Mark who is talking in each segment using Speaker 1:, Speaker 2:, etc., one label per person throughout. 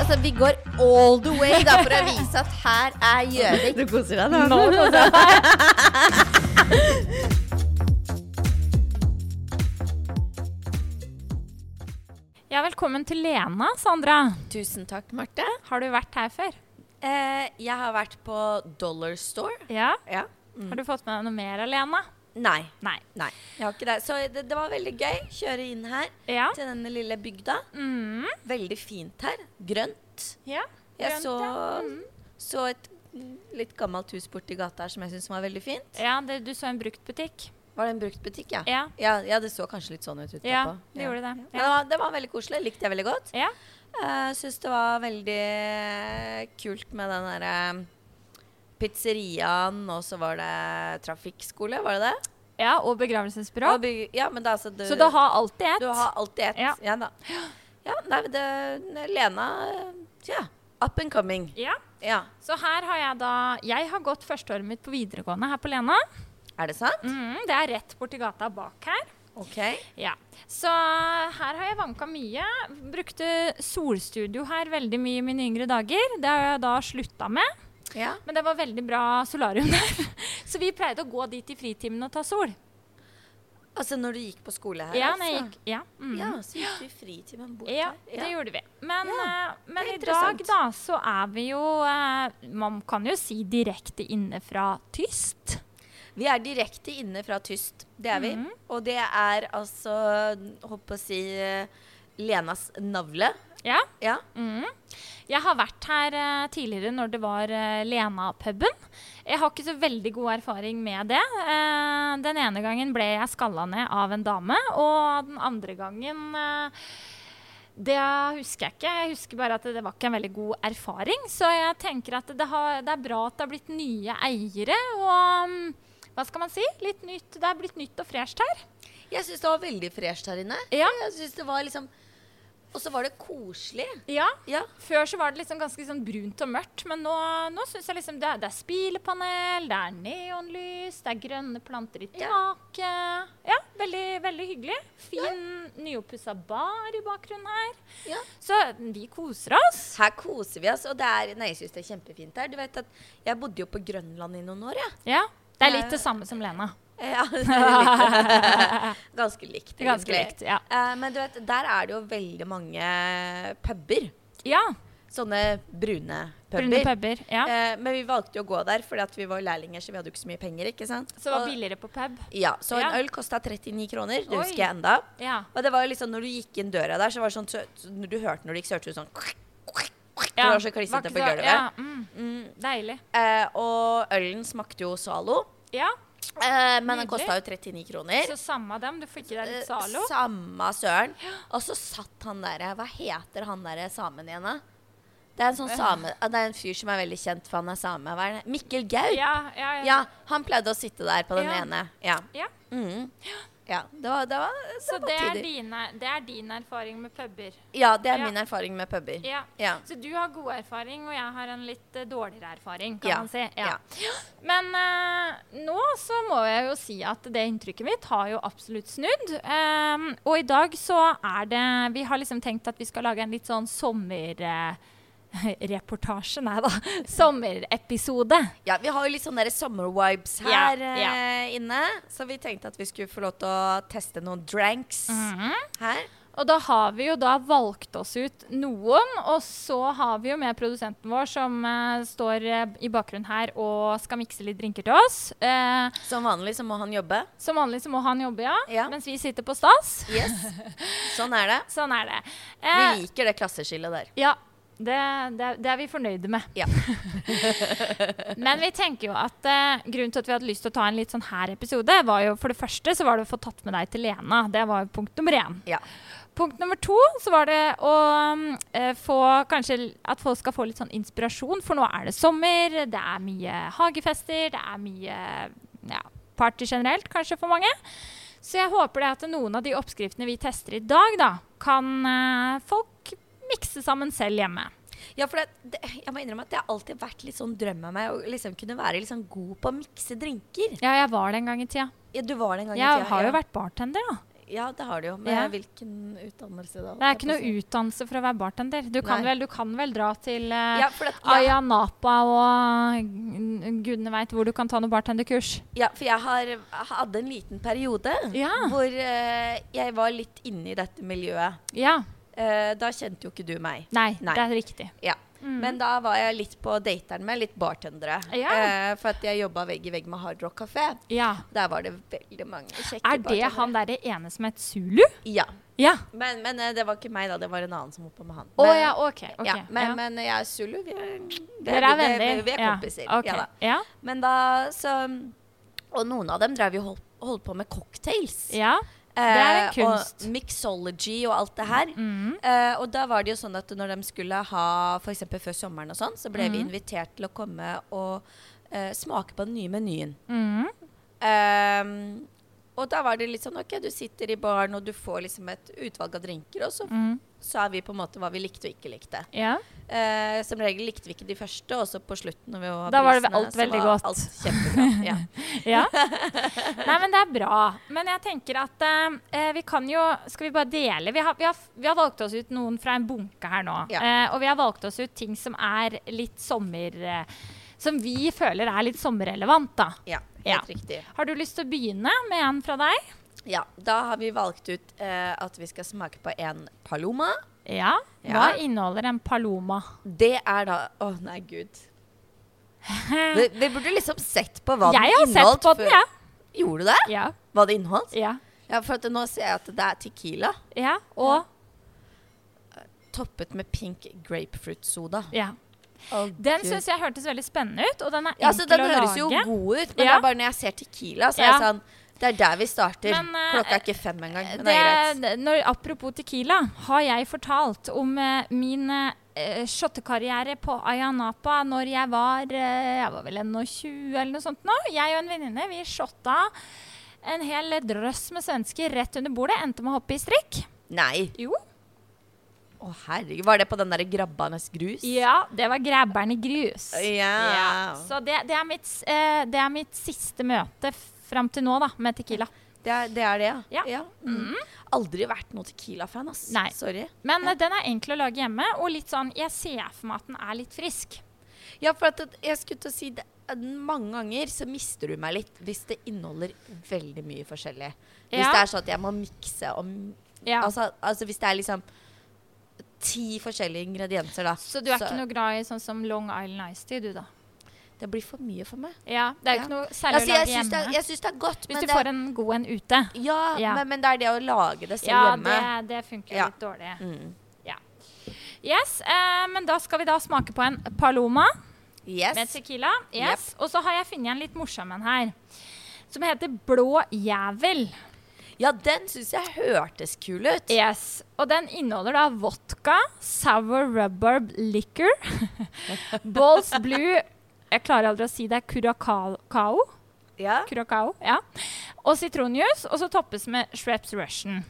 Speaker 1: Altså, vi går all the way da, for å vise at her er Gjøvik.
Speaker 2: Du koser deg nå.
Speaker 3: Ja, velkommen til Lena, Sandra.
Speaker 4: Tusen takk, Marte.
Speaker 3: Har du vært her før?
Speaker 4: Eh, jeg har vært på Dollar Store.
Speaker 3: Ja.
Speaker 4: Ja.
Speaker 3: Mm. Har du fått med deg noe mer, Lena?
Speaker 4: Nei.
Speaker 3: Nei.
Speaker 4: Nei. Jeg har ikke det. Så det, det var veldig gøy. Kjøre inn her
Speaker 3: Ja.
Speaker 4: til denne lille bygda.
Speaker 3: Mm.
Speaker 4: Veldig fint her. Grønt.
Speaker 3: Ja.
Speaker 4: Jeg
Speaker 3: grønt,
Speaker 4: så, Mm.
Speaker 3: ja.
Speaker 4: så et litt gammelt hus borti gata her som jeg syns var veldig fint.
Speaker 3: Ja, det, du så en bruktbutikk.
Speaker 4: Var det en bruktbutikk, ja?
Speaker 3: Ja.
Speaker 4: Ja, ja, det så kanskje litt sånn ut utenpå.
Speaker 3: Ja, det gjorde det.
Speaker 4: Men det, var, det var veldig koselig. Likte jeg veldig godt.
Speaker 3: Ja.
Speaker 4: Eh, Jeg syns det var veldig kult med den derre pizzeriaen, og så var det trafikkskole, var det det?
Speaker 3: ja, og begravelsesbyrå.
Speaker 4: Og byg- Ja, men da, altså, du,
Speaker 3: Så du har alltid ett.
Speaker 4: du har alltid ett.
Speaker 3: Ja.
Speaker 4: Ja. da. Ja, nei, det, Lena eh, Ja, up and coming.
Speaker 3: Ja.
Speaker 4: Ja,
Speaker 3: Så her har jeg da Jeg har gått førsteåret mitt på videregående her på Lena.
Speaker 4: er det sant?
Speaker 3: Mm, det er rett borti gata bak her.
Speaker 4: OK.
Speaker 3: Ja. Så her har jeg vanka mye. Brukte solstudio her veldig mye i mine yngre dager. Det har jeg da slutta med.
Speaker 4: Ja.
Speaker 3: Men det var veldig bra solarium der. Så vi pleide å gå dit i fritimen og ta sol.
Speaker 4: Altså når du gikk på skole her,
Speaker 3: Ja, når jeg
Speaker 4: altså?
Speaker 3: gikk, ja. Mm.
Speaker 4: Ja, så gikk du i fritimen bort
Speaker 3: Ja,
Speaker 4: her.
Speaker 3: det gjorde vi. Men, eh, men
Speaker 4: det er
Speaker 3: i dag,
Speaker 4: interessant.
Speaker 3: da, så er vi jo eh, Man kan jo si direkte inne fra tyst.
Speaker 4: Vi er direkte inne fra Tyst, det er vi.
Speaker 3: Mhm.
Speaker 4: Og det er altså, håper å si, eh, Lenas navle.
Speaker 3: Ja.
Speaker 4: Ja.
Speaker 3: Mm. Jeg har vært her eh, tidligere når det var eh, Lena-puben. Jeg har ikke så veldig god erfaring med det. Eh, den ene gangen ble jeg skalla ned av en dame, og den andre gangen eh, det husker jeg ikke. Jeg husker bare at det var ikke en veldig god erfaring. Så jeg tenker at det, har, det er bra at det har blitt nye eiere og mm, Hva skal man si? Litt nytt. Det er blitt nytt og fresht her.
Speaker 4: Jeg syns det var veldig fresht her inne.
Speaker 3: Ja.
Speaker 4: Jeg synes det var liksom Og så var det koselig.
Speaker 3: Ja,
Speaker 4: Ja.
Speaker 3: Før så var det liksom ganske sånn brunt og mørkt, men nå, nå syns jeg liksom det er, det er spilepanel, det er neonlys, det er grønne planter i
Speaker 4: Ja.
Speaker 3: taket. Ja, veldig, veldig hyggelig. Fin nyoppussa bar i bakgrunnen her.
Speaker 4: Ja.
Speaker 3: Så vi koser oss.
Speaker 4: Her koser vi oss. Og det er Nei, jeg syns det er kjempefint her. Du vet at jeg bodde jo på Grønland i noen år, jeg.
Speaker 3: Ja, Det er
Speaker 4: Ja.
Speaker 3: litt det samme som Lena.
Speaker 4: Ja, det er likt. Ganske likt.
Speaker 3: Ganske
Speaker 4: egentlig.
Speaker 3: likt, ja.
Speaker 4: Eh, Men du vet, der er det jo veldig mange puber.
Speaker 3: Ja,
Speaker 4: Sånne brune puber.
Speaker 3: Brune puber. Ja.
Speaker 4: Eh, men vi valgte jo å gå der fordi at vi var lærlinger, så vi hadde jo ikke så mye penger. ikke sant?
Speaker 3: Så det var
Speaker 4: Og-
Speaker 3: billigere på pub.
Speaker 4: Ja, Så en
Speaker 3: Ja.
Speaker 4: øl kosta 39 kroner. Det
Speaker 3: Oi.
Speaker 4: husker jeg enda.
Speaker 3: Ja.
Speaker 4: Og det var jo liksom, når du gikk inn døra der, så var det sånn så, så, Når du hørte når du gikk, så hørte du sånn Det
Speaker 3: Ja,
Speaker 4: var så klissete på
Speaker 3: vaksa-
Speaker 4: gulvet.
Speaker 3: Ja, mm, Deilig.
Speaker 4: Eh, og ølen smakte jo Zalo,
Speaker 3: Ja,
Speaker 4: eh, men den
Speaker 3: Nydelig.
Speaker 4: kosta jo 39 kroner.
Speaker 3: så samme dem. Du får ikke deg
Speaker 4: Eh,
Speaker 3: litt Zalo.
Speaker 4: Samme søren. Og så satt han derre Hva heter han derre samen igjen, da? Det er en sånn same ah, Det er en fyr som er veldig kjent, for han er same. Hva er det? Mikkel Gaup.
Speaker 3: Ja, ja, ja.
Speaker 4: Ja, han pleide å sitte der på den
Speaker 3: Ja.
Speaker 4: ene. Ja.
Speaker 3: ja.
Speaker 4: Mm. ja. Det var, det var, det
Speaker 3: Så
Speaker 4: var
Speaker 3: det er,
Speaker 4: tider.
Speaker 3: din, det er din erfaring med puber.
Speaker 4: Ja, det er
Speaker 3: Ja.
Speaker 4: min erfaring med puber.
Speaker 3: Ja.
Speaker 4: Ja.
Speaker 3: Så du har god erfaring, og jeg har en litt eh, dårligere erfaring, kan
Speaker 4: Ja,
Speaker 3: man si. Men eh, nå så må jeg jo si at det inntrykket mitt har jo absolutt snudd. Ehm, og i dag så er det Vi har liksom tenkt at vi skal lage en litt sånn sommer... eh, reportasje, nei da. Sommerepisode.
Speaker 4: Ja, vi har jo litt sånne der sommer-vibes
Speaker 3: Ja,
Speaker 4: her eh, inne, så vi tenkte at vi skulle få lov til å teste noen dranks her.
Speaker 3: Og da har vi jo da valgt oss ut noen, og så har vi jo med produsenten vår som eh, står eh, i bakgrunnen her og skal mikse litt drinker til oss. Eh,
Speaker 4: Som vanlig så må han jobbe.
Speaker 3: som vanlig så må han jobbe, ja,
Speaker 4: Ja.
Speaker 3: mens vi sitter på stas.
Speaker 4: Yes. Sånn er det.
Speaker 3: Sånn er det.
Speaker 4: Vi
Speaker 3: Eh,
Speaker 4: liker det klasseskillet der.
Speaker 3: ja, det, det, det er vi fornøyde med.
Speaker 4: Ja.
Speaker 3: Men vi tenker jo at eh, grunnen til at vi hadde lyst til å ta en litt sånn her episode, var jo for det første så var det å få tatt med deg til Lena. Det var jo punkt nummer én.
Speaker 4: Ja.
Speaker 3: Punkt nummer to så var det å mm, eh, få kanskje l- at folk skal få litt sånn inspirasjon, for nå er det sommer, det er mye hagefester, det er mye ja, party generelt kanskje for mange. Så jeg håper det at noen av de oppskriftene vi tester i dag, da, kan eh, folk mikse sammen selv hjemme.
Speaker 4: ja, for det, det, jeg må innrømme at det har alltid vært litt sånn drømmen meg å liksom kunne være litt sånn god på å mikse drinker.
Speaker 3: Ja, jeg var det en gang i tida.
Speaker 4: Ja, du var det en gang i
Speaker 3: Jeg
Speaker 4: tida,
Speaker 3: har
Speaker 4: ja.
Speaker 3: jo vært bartender, da.
Speaker 4: Ja, det har du jo. Men
Speaker 3: Ja.
Speaker 4: hvilken utdannelse da?
Speaker 3: Det er ikke noe utdannelse for å være bartender. Du kan,
Speaker 4: Nei.
Speaker 3: vel, du kan vel dra til eh,
Speaker 4: Ah, Ja, for, at, jeg,
Speaker 3: Aya Napa og mm, gudene veit hvor du kan ta noe bartenderkurs.
Speaker 4: ja, for jeg har, hadde en liten periode
Speaker 3: Ja.
Speaker 4: hvor eh, jeg var litt inne i dette miljøet.
Speaker 3: Ja.
Speaker 4: Eh, da kjente jo ikke du meg.
Speaker 3: Nei,
Speaker 4: Nei.
Speaker 3: det er riktig.
Speaker 4: Ja.
Speaker 3: Mm.
Speaker 4: Men da var jeg litt på dateren med litt bartendere.
Speaker 3: Ja.
Speaker 4: Eh, for at jeg jobba vegg i vegg med Hard Rock kafé.
Speaker 3: ja.
Speaker 4: Der var det veldig mange kjekke
Speaker 3: Er det
Speaker 4: bartendere.
Speaker 3: han derre ene som het Zulu?
Speaker 4: Ja.
Speaker 3: Ja.
Speaker 4: Men, men eh, det var ikke meg, da. Det var en annen som holdt på med han.
Speaker 3: Å
Speaker 4: Men-
Speaker 3: ja, OK. ok,
Speaker 4: ja, men,
Speaker 3: ja.
Speaker 4: men jeg og Zulu, vi er,
Speaker 3: Dere er venner?
Speaker 4: Vi, vi er
Speaker 3: Ja,
Speaker 4: kompiser.
Speaker 3: ok,
Speaker 4: Ja da.
Speaker 3: ja.
Speaker 4: Men da, så Og noen av dem drev jo holdt, holdt på med cocktails.
Speaker 3: ja. det er en
Speaker 4: Eh,
Speaker 3: kunst.
Speaker 4: Og mixology og alt det her.
Speaker 3: Mm.
Speaker 4: Eh, og da var det jo sånn at når de skulle ha f.eks. før sommeren og sånn, så ble vi
Speaker 3: Mhm.
Speaker 4: invitert til å komme og eh, smake på den nye menyen.
Speaker 3: Mm.
Speaker 4: Ehm, og da var det litt sånn OK, du sitter i baren og du får liksom et utvalg av drinker, og så
Speaker 3: Mm.
Speaker 4: sa vi på en måte hva vi likte og ikke likte.
Speaker 3: Ja.
Speaker 4: Eh, som regel likte vi ikke de første, og så på slutten når vi var
Speaker 3: Da var det
Speaker 4: prisene,
Speaker 3: alt
Speaker 4: så
Speaker 3: veldig
Speaker 4: var
Speaker 3: godt.
Speaker 4: Alt kjempebra. Ja.
Speaker 3: ja. Nei, men det er bra. Men jeg tenker at eh, vi kan jo Skal vi bare dele? Vi har, vi, har, vi har valgt oss ut noen fra en bunke her nå.
Speaker 4: Ja.
Speaker 3: Eh, og vi har valgt oss ut ting som er litt sommer... eh, som vi føler er litt sommerrelevant, da.
Speaker 4: ja, helt
Speaker 3: Ja.
Speaker 4: riktig.
Speaker 3: Har du lyst til å begynne med en fra deg?
Speaker 4: Ja, da har vi valgt ut eh, at vi skal smake på en paloma.
Speaker 3: Ja. Hva
Speaker 4: Ja.
Speaker 3: inneholder en paloma?
Speaker 4: Det er da Å, nei, gud. Vi, vi burde liksom sett på hva
Speaker 3: jeg
Speaker 4: den
Speaker 3: har
Speaker 4: inneholdt.
Speaker 3: sett på den,
Speaker 4: før-
Speaker 3: jeg.
Speaker 4: Gjorde du det?
Speaker 3: Ja.
Speaker 4: Hva det inneholdt?
Speaker 3: Ja.
Speaker 4: Ja, for at nå ser jeg at det er tequila
Speaker 3: ja. Og
Speaker 4: toppet med pink grapefruit-soda.
Speaker 3: ja.
Speaker 4: Å,
Speaker 3: Den
Speaker 4: Gud.
Speaker 3: syns jeg hørtes veldig spennende ut, og den er
Speaker 4: ja, altså,
Speaker 3: enkel
Speaker 4: Den
Speaker 3: å lage.
Speaker 4: høres jo god ut, men det
Speaker 3: Ja.
Speaker 4: er bare når jeg ser tequila, så
Speaker 3: Ja.
Speaker 4: er jeg sånn Det er der vi starter.
Speaker 3: Men, eh,
Speaker 4: Klokka er ikke fem engang, men det er greit.
Speaker 3: det, når, apropos tequila, har jeg fortalt om eh, min eh, shottekarriere på Ayanapa når jeg var eh, Jeg var vel 21 eller noe sånt nå. Jeg og en venninne vi shotta en hel drøss med svensker rett under bordet. Endte med å hoppe i strikk.
Speaker 4: Nei.
Speaker 3: Jo.
Speaker 4: Å, herregud. Var det på den der grabbanes grus?
Speaker 3: Ja, det var grabberen i grus.
Speaker 4: Ja.
Speaker 3: Så det, det, er mitt, s- eh, det er mitt siste møte fram til nå da, med tequila.
Speaker 4: Det, er, det er det,
Speaker 3: Ja. Mhm.
Speaker 4: Mm. Aldri vært noe Tequila-fan, ass.
Speaker 3: Nei.
Speaker 4: Sorry.
Speaker 3: Men eh, den er enkel å lage hjemme, og litt sånn, jeg ser for meg at den er litt frisk.
Speaker 4: Ja, for at det- jeg skulle til å si det, at mange ganger så mister du meg litt hvis det inneholder veldig mye forskjellig. Hvis
Speaker 3: Ja.
Speaker 4: det er sånn at jeg må mikse og m-
Speaker 3: Ja.
Speaker 4: altså, altså hvis det er liksom ti forskjellige ingredienser, da.
Speaker 3: Så du er ikke noe glad i sånn som Long Island Ice Tea, du da?
Speaker 4: Det blir for mye for meg.
Speaker 3: Ja, det er jo
Speaker 4: Ja.
Speaker 3: ikke noe særlig
Speaker 4: Altså,
Speaker 3: å
Speaker 4: jeg
Speaker 3: lage
Speaker 4: syns det,
Speaker 3: hjemme.
Speaker 4: er- jeg syns det er godt,
Speaker 3: Hvis
Speaker 4: men
Speaker 3: du
Speaker 4: det,
Speaker 3: får en god en ute.
Speaker 4: ja,
Speaker 3: Ja.
Speaker 4: Men, men det er det å lage det selv
Speaker 3: Ja,
Speaker 4: hjemme.
Speaker 3: det, det funker
Speaker 4: Ja.
Speaker 3: litt dårlig.
Speaker 4: Mm.
Speaker 3: Ja. Yes, eh, men da skal vi da smake på en Paloma med
Speaker 4: Yes.
Speaker 3: tequila. Yes. Og så har jeg funnet en litt morsom en her. Som heter Blå jævel.
Speaker 4: Ja, den syns jeg hørtes kul ut.
Speaker 3: Yes. Og den inneholder da vodka, sour rubber liquor, Balls Blue Jeg klarer aldri å si det. Curacao.
Speaker 4: Ja.
Speaker 3: Curacao, ja. Og sitronjuice, og så toppes med Shreps Russian.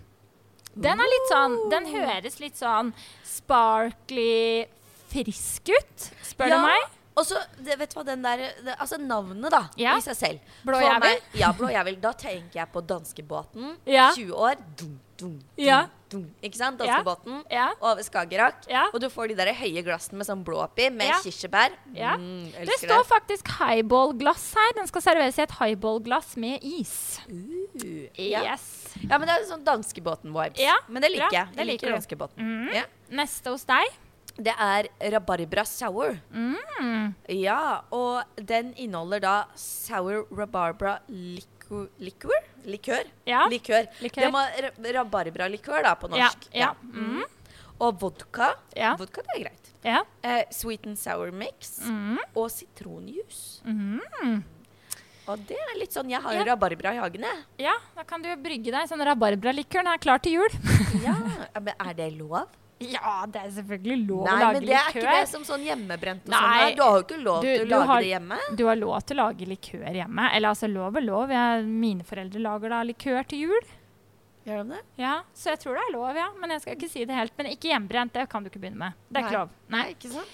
Speaker 3: Den er litt sånn, den høres litt sånn sparkly frisk ut, spør
Speaker 4: Ja,
Speaker 3: du meg.
Speaker 4: Og så, det- vet du hva, den der det, Altså navnet, da,
Speaker 3: Ja.
Speaker 4: i seg selv.
Speaker 3: Blå
Speaker 4: For
Speaker 3: jævel?
Speaker 4: meg- Ja, Blå jævel. Da tenker jeg på danskebåten.
Speaker 3: Ja.
Speaker 4: 20 år. Dum, dum,
Speaker 3: Ja.
Speaker 4: dum, dum. Ikke sant?
Speaker 3: Ja.
Speaker 4: Danskebåten.
Speaker 3: Ja.
Speaker 4: Over Skagerrak.
Speaker 3: Ja.
Speaker 4: Og du får de der høye glassene med sånn blå oppi, med
Speaker 3: Ja.
Speaker 4: kirsebær.
Speaker 3: Ja.
Speaker 4: Mm, elsker
Speaker 3: Det står faktisk highball-glass her. Den skal serveres i et highball-glass med is.
Speaker 4: Uh, ja.
Speaker 3: Yes.
Speaker 4: ja, men det er sånn danskebåten-vibes.
Speaker 3: Ja,
Speaker 4: Men det
Speaker 3: bra.
Speaker 4: liker jeg.
Speaker 3: Det
Speaker 4: Jeg liker
Speaker 3: liker du.
Speaker 4: danskebåten.
Speaker 3: Mhm.
Speaker 4: Ja.
Speaker 3: Neste hos deg.
Speaker 4: Det er rabarbra sour.
Speaker 3: Mm.
Speaker 4: Ja, og den inneholder da sour rabarbra liquor. Likør? Likør.
Speaker 3: Ja,
Speaker 4: likør.
Speaker 3: likør.
Speaker 4: Det må ra- rabarbralikør, da, på
Speaker 3: Ja,
Speaker 4: norsk.
Speaker 3: ja. Mm.
Speaker 4: Og vodka.
Speaker 3: Ja.
Speaker 4: Vodka, det er greit.
Speaker 3: Ja.
Speaker 4: Eh, sweet and sour mix.
Speaker 3: Mm.
Speaker 4: Og sitronjuice.
Speaker 3: Mm.
Speaker 4: Og det er litt sånn Jeg har
Speaker 3: Ja.
Speaker 4: jo rabarbra i hagen, jeg.
Speaker 3: ja, da kan du brygge deg sånn rabarbralikør. Den er klar til jul.
Speaker 4: Ja. men er det lov?
Speaker 3: Ja, det er selvfølgelig lov å
Speaker 4: Nei,
Speaker 3: lage
Speaker 4: men det er
Speaker 3: likør.
Speaker 4: ikke det som sånn hjemmebrent og sånn.
Speaker 3: Nei.
Speaker 4: er. Du har jo ikke lov
Speaker 3: Du-
Speaker 4: til
Speaker 3: du
Speaker 4: å lage
Speaker 3: har-
Speaker 4: det hjemme.
Speaker 3: Du har lov til å lage likør hjemme. Eller altså, lov og lov. Jeg, mine foreldre lager da likør til jul.
Speaker 4: Gjør de det?
Speaker 3: Ja, Så jeg tror det er lov, ja. Men jeg skal ikke si det helt. Men ikke hjemmebrent, det kan du ikke begynne med. Det er ikke
Speaker 4: Nei.
Speaker 3: lov. Nei.
Speaker 4: Ikke sant?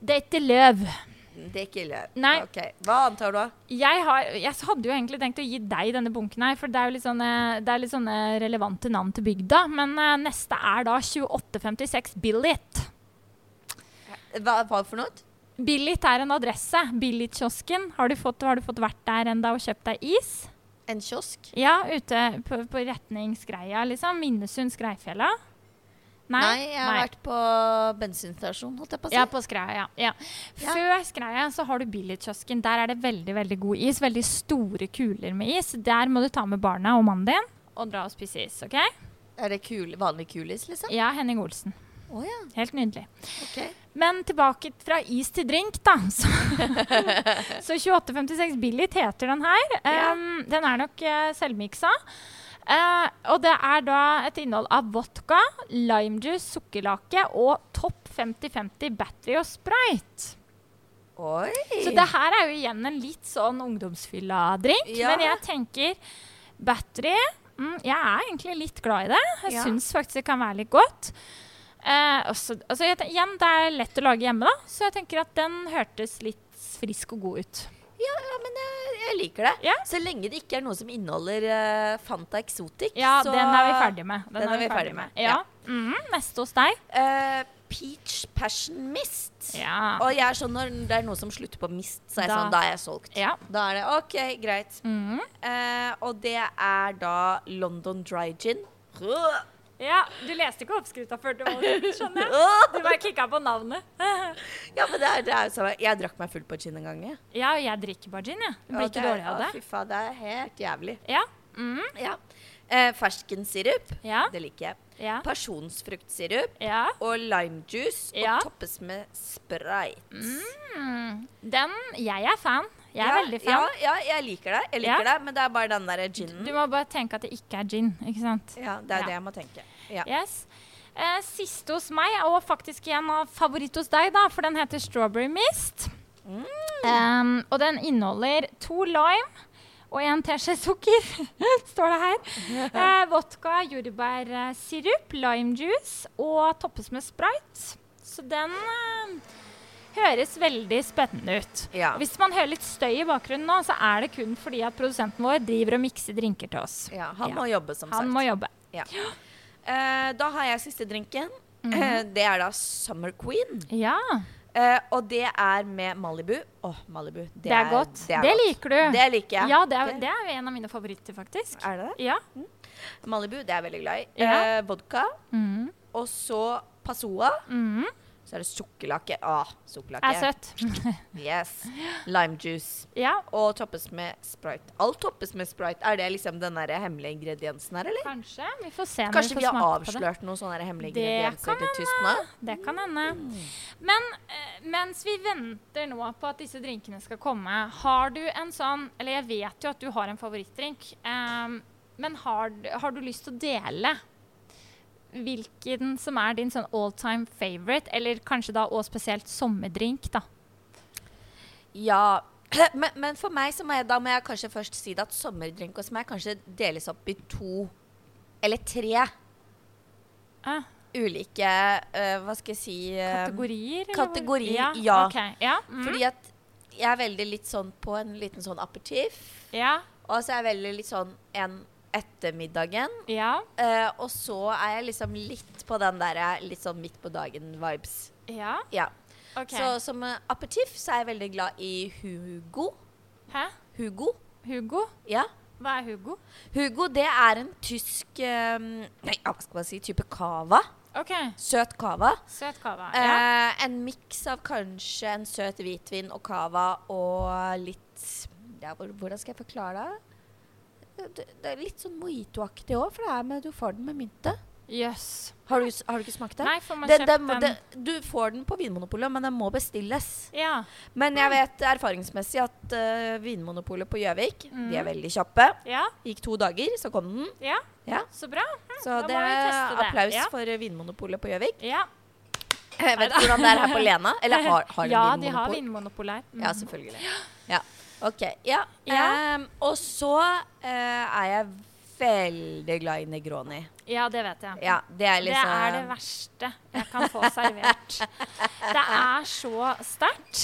Speaker 3: Date løv.
Speaker 4: liten. Det ikke ille.
Speaker 3: Nei.
Speaker 4: Ok, Hva annet har du, da?
Speaker 3: Jeg, har, jeg hadde jo egentlig tenkt å gi deg denne bunken her, for det er jo litt sånne, det er litt sånne relevante navn til bygda. Men eh, neste er da 2856 Billit.
Speaker 4: Hva, hva for noe?
Speaker 3: Billit er en adresse. Billit-kiosken. Har, du fått- har du fått vært der enda og kjøpt deg is?
Speaker 4: En kiosk?
Speaker 3: Ja, ute på, på retning Skreia, liksom. Minnesund, Skreifjella. Nei,
Speaker 4: jeg har vært på bensinstasjon, holdt jeg på å si.
Speaker 3: Ja, på Skreia. Ja.
Speaker 4: Ja.
Speaker 3: Ja. Før Skreia så har du billigkiosken. Der er det veldig veldig god is. Veldig store kuler med is. Der må du ta med barna og mannen din og dra og spise is. ok?
Speaker 4: Er det kul, vanlig kulis, liksom?
Speaker 3: Ja, Henning Olsen.
Speaker 4: Å ja,
Speaker 3: Helt nydelig.
Speaker 4: ok.
Speaker 3: Men tilbake fra is til drink, da. Så, så 2856 Billit heter den her.
Speaker 4: Ja.
Speaker 3: Um, den er nok eh, selvmiksa. Eh, og det er da et innhold av vodka, limejuice, sukkerlake og Topp 50-50 battery og sprite.
Speaker 4: Oi!
Speaker 3: Så det her er jo igjen en litt sånn ungdomsfylla drink.
Speaker 4: Ja.
Speaker 3: Men jeg tenker battery mm, Jeg er egentlig litt glad i det. Jeg
Speaker 4: Ja.
Speaker 3: syns faktisk det kan være litt godt. Eh, også, altså, jeg, ten- igjen, det er lett å lage hjemme, da, så jeg tenker at den hørtes litt frisk og god ut.
Speaker 4: Ja, ja, men jeg, jeg liker det.
Speaker 3: Ja.
Speaker 4: Så lenge det ikke er noe som inneholder eh, Fanta Exotic.
Speaker 3: Ja,
Speaker 4: så,
Speaker 3: den er vi ferdig med. Den, er vi ferdig med. Ja.
Speaker 4: ja.
Speaker 3: Mhm, neste hos deg.
Speaker 4: Eh, peach Passion Mist.
Speaker 3: Ja.
Speaker 4: Og jeg er sånn, når det er noe som slutter på mist, så er jeg
Speaker 3: Da-
Speaker 4: sånn, da er jeg solgt.
Speaker 3: ja.
Speaker 4: Da er det OK, greit.
Speaker 3: Mhm.
Speaker 4: Eh, og det er da London Dry Gin. Øh,
Speaker 3: ja. Du leste ikke oppskrifta før du var ute, skjønner jeg.
Speaker 4: øh.
Speaker 3: Du bare kikka på navnet.
Speaker 4: Ja, men det er, det er jo samme. Jeg drakk meg full på gin en gang. Jeg.
Speaker 3: Ja, og jeg drikker bare gin, jeg. Ja. Blir
Speaker 4: Og
Speaker 3: ikke
Speaker 4: er-
Speaker 3: dårlig av
Speaker 4: å,
Speaker 3: det.
Speaker 4: Fy faen, det er helt jævlig.
Speaker 3: Ja. mhm,
Speaker 4: Ja. Eh, ferskensirup.
Speaker 3: ja.
Speaker 4: Det liker jeg.
Speaker 3: Ja.
Speaker 4: Pasjonsfruktsirup.
Speaker 3: ja.
Speaker 4: og limejuice
Speaker 3: Ja.
Speaker 4: og toppes med sprite.
Speaker 3: Mm. Den Jeg er fan. Jeg er
Speaker 4: ja,
Speaker 3: veldig fan.
Speaker 4: Ja, ja, jeg liker det, jeg
Speaker 3: Ja.
Speaker 4: liker det, men det er bare den der ginen.
Speaker 3: Du må bare tenke at det ikke er gin, ikke sant?
Speaker 4: Ja, det er
Speaker 3: Ja.
Speaker 4: det jeg må tenke. Ja.
Speaker 3: Yes. Eh, siste hos meg, og faktisk igjen av favoritt hos deg, da, for den heter Strawberry Mist. Em, og den inneholder to lime og en teskje sukker, står det her. Eh, vodka, eh, jordbærsirup, limejuice og toppes med sprite. Så den eh, høres veldig spennende ut.
Speaker 4: Ja.
Speaker 3: Hvis man hører litt støy i bakgrunnen nå, så er det kun fordi at produsenten vår driver og mikser drinker til oss.
Speaker 4: ja han må jobbe, som
Speaker 3: Han
Speaker 4: sagt.
Speaker 3: må jobbe.
Speaker 4: Eh, da har jeg siste drinken.
Speaker 3: Mhm.
Speaker 4: Eh, det er da Summer Queen.
Speaker 3: Ja,
Speaker 4: Eh, og det er med Malibu. Åh, Malibu. Det,
Speaker 3: det er godt. Det, liker du.
Speaker 4: Det liker jeg.
Speaker 3: ja, det er, det er en av mine favoritter, faktisk.
Speaker 4: Er det det?
Speaker 3: Ja.
Speaker 4: Malibu, det er jeg veldig glad i.
Speaker 3: Ja.
Speaker 4: Eh, vodka,
Speaker 3: Mm.
Speaker 4: og så Passoa.
Speaker 3: Mm.
Speaker 4: Så er det sukkerlake. Ah, sukkerlake.
Speaker 3: Er søtt.
Speaker 4: Yes. Limejuice.
Speaker 3: Ja,
Speaker 4: Og toppes med sprite. Alt toppes med sprite. Er det liksom den der hemmelige ingrediensen her, eller?
Speaker 3: kanskje. Vi får se når
Speaker 4: Kanskje vi
Speaker 3: vi
Speaker 4: har
Speaker 3: får smake på det.
Speaker 4: avslørt noen sånne hemmelige
Speaker 3: Det
Speaker 4: ingredienser
Speaker 3: kan
Speaker 4: til tyskene?
Speaker 3: Det kan
Speaker 4: Mm.
Speaker 3: hende. Men eh, mens vi venter nå på at disse drinkene skal komme, har du en sånn Eller jeg vet jo at du har en favorittdrink, ehm, men har, d- har du lyst til å dele hvilken som er din sånn all time favorite, eller kanskje da og spesielt sommerdrink, da?
Speaker 4: Ja. Men, men for meg så må jeg, da må jeg kanskje først si det at sommerdrink hos meg kanskje deles opp i to eller tre
Speaker 3: Ah,
Speaker 4: ulike eh, Hva skal jeg si eh,
Speaker 3: kategorier? eller hvor-
Speaker 4: kategori, ja.
Speaker 3: ok, ja, mm,
Speaker 4: Fordi at jeg er veldig litt sånn på en liten sånn aperitiff.
Speaker 3: ja,
Speaker 4: Og så er jeg veldig litt sånn en ettermiddagen.
Speaker 3: ja,
Speaker 4: Eh, og så er jeg liksom litt på den der litt sånn midt på dagen-vibes.
Speaker 3: ja.
Speaker 4: Ja.
Speaker 3: OK.
Speaker 4: Så som eh, aperitiff så er jeg veldig glad i Hugo.
Speaker 3: Hæ?
Speaker 4: Hugo?
Speaker 3: Hugo?
Speaker 4: Ja.
Speaker 3: Hva er Hugo?
Speaker 4: Hugo det er en tysk eh, Nei, ja, hva skal man si? Type cava.
Speaker 3: OK.
Speaker 4: Søt cava.
Speaker 3: Søt cava.
Speaker 4: Eh,
Speaker 3: Ja.
Speaker 4: en miks av kanskje en søt hvitvin og cava og litt ja, hvor- Hvordan skal jeg forklare det? Det, det er litt sånn mojitoaktig òg, for det er med, du får den med mynte.
Speaker 3: Jøss.
Speaker 4: Har du, har du ikke smakt det?
Speaker 3: Nei, får man
Speaker 4: Den-
Speaker 3: kjøpt
Speaker 4: den må-
Speaker 3: den?
Speaker 4: den- du får den på Vinmonopolet, men den må bestilles.
Speaker 3: Ja.
Speaker 4: Men jeg
Speaker 3: Mm.
Speaker 4: vet erfaringsmessig at eh, Vinmonopolet på Gjøvik
Speaker 3: Mm.
Speaker 4: De er veldig kjappe.
Speaker 3: Ja,
Speaker 4: Gikk to dager, så kom den.
Speaker 3: ja.
Speaker 4: Ja.
Speaker 3: Så bra. Hm,
Speaker 4: Så
Speaker 3: Mm, da må
Speaker 4: det
Speaker 3: vi teste
Speaker 4: er
Speaker 3: det.
Speaker 4: applaus
Speaker 3: Ja.
Speaker 4: for eh, Vinmonopolet på Gjøvik.
Speaker 3: Ja,
Speaker 4: Jeg vet ikke hvordan det er her på Lena. Eller har, har de
Speaker 3: ja de har
Speaker 4: Vinmonopol?
Speaker 3: vinmonopol her. Mm.
Speaker 4: Ja, selvfølgelig. Ja. OK. Ja.
Speaker 3: Ja.
Speaker 4: Ehm, og så eh, er jeg veldig glad i Negroni.
Speaker 3: Ja, det vet jeg.
Speaker 4: Ja, det er
Speaker 3: Det
Speaker 4: liksom
Speaker 3: er det verste jeg kan få servert. Det er så sterkt.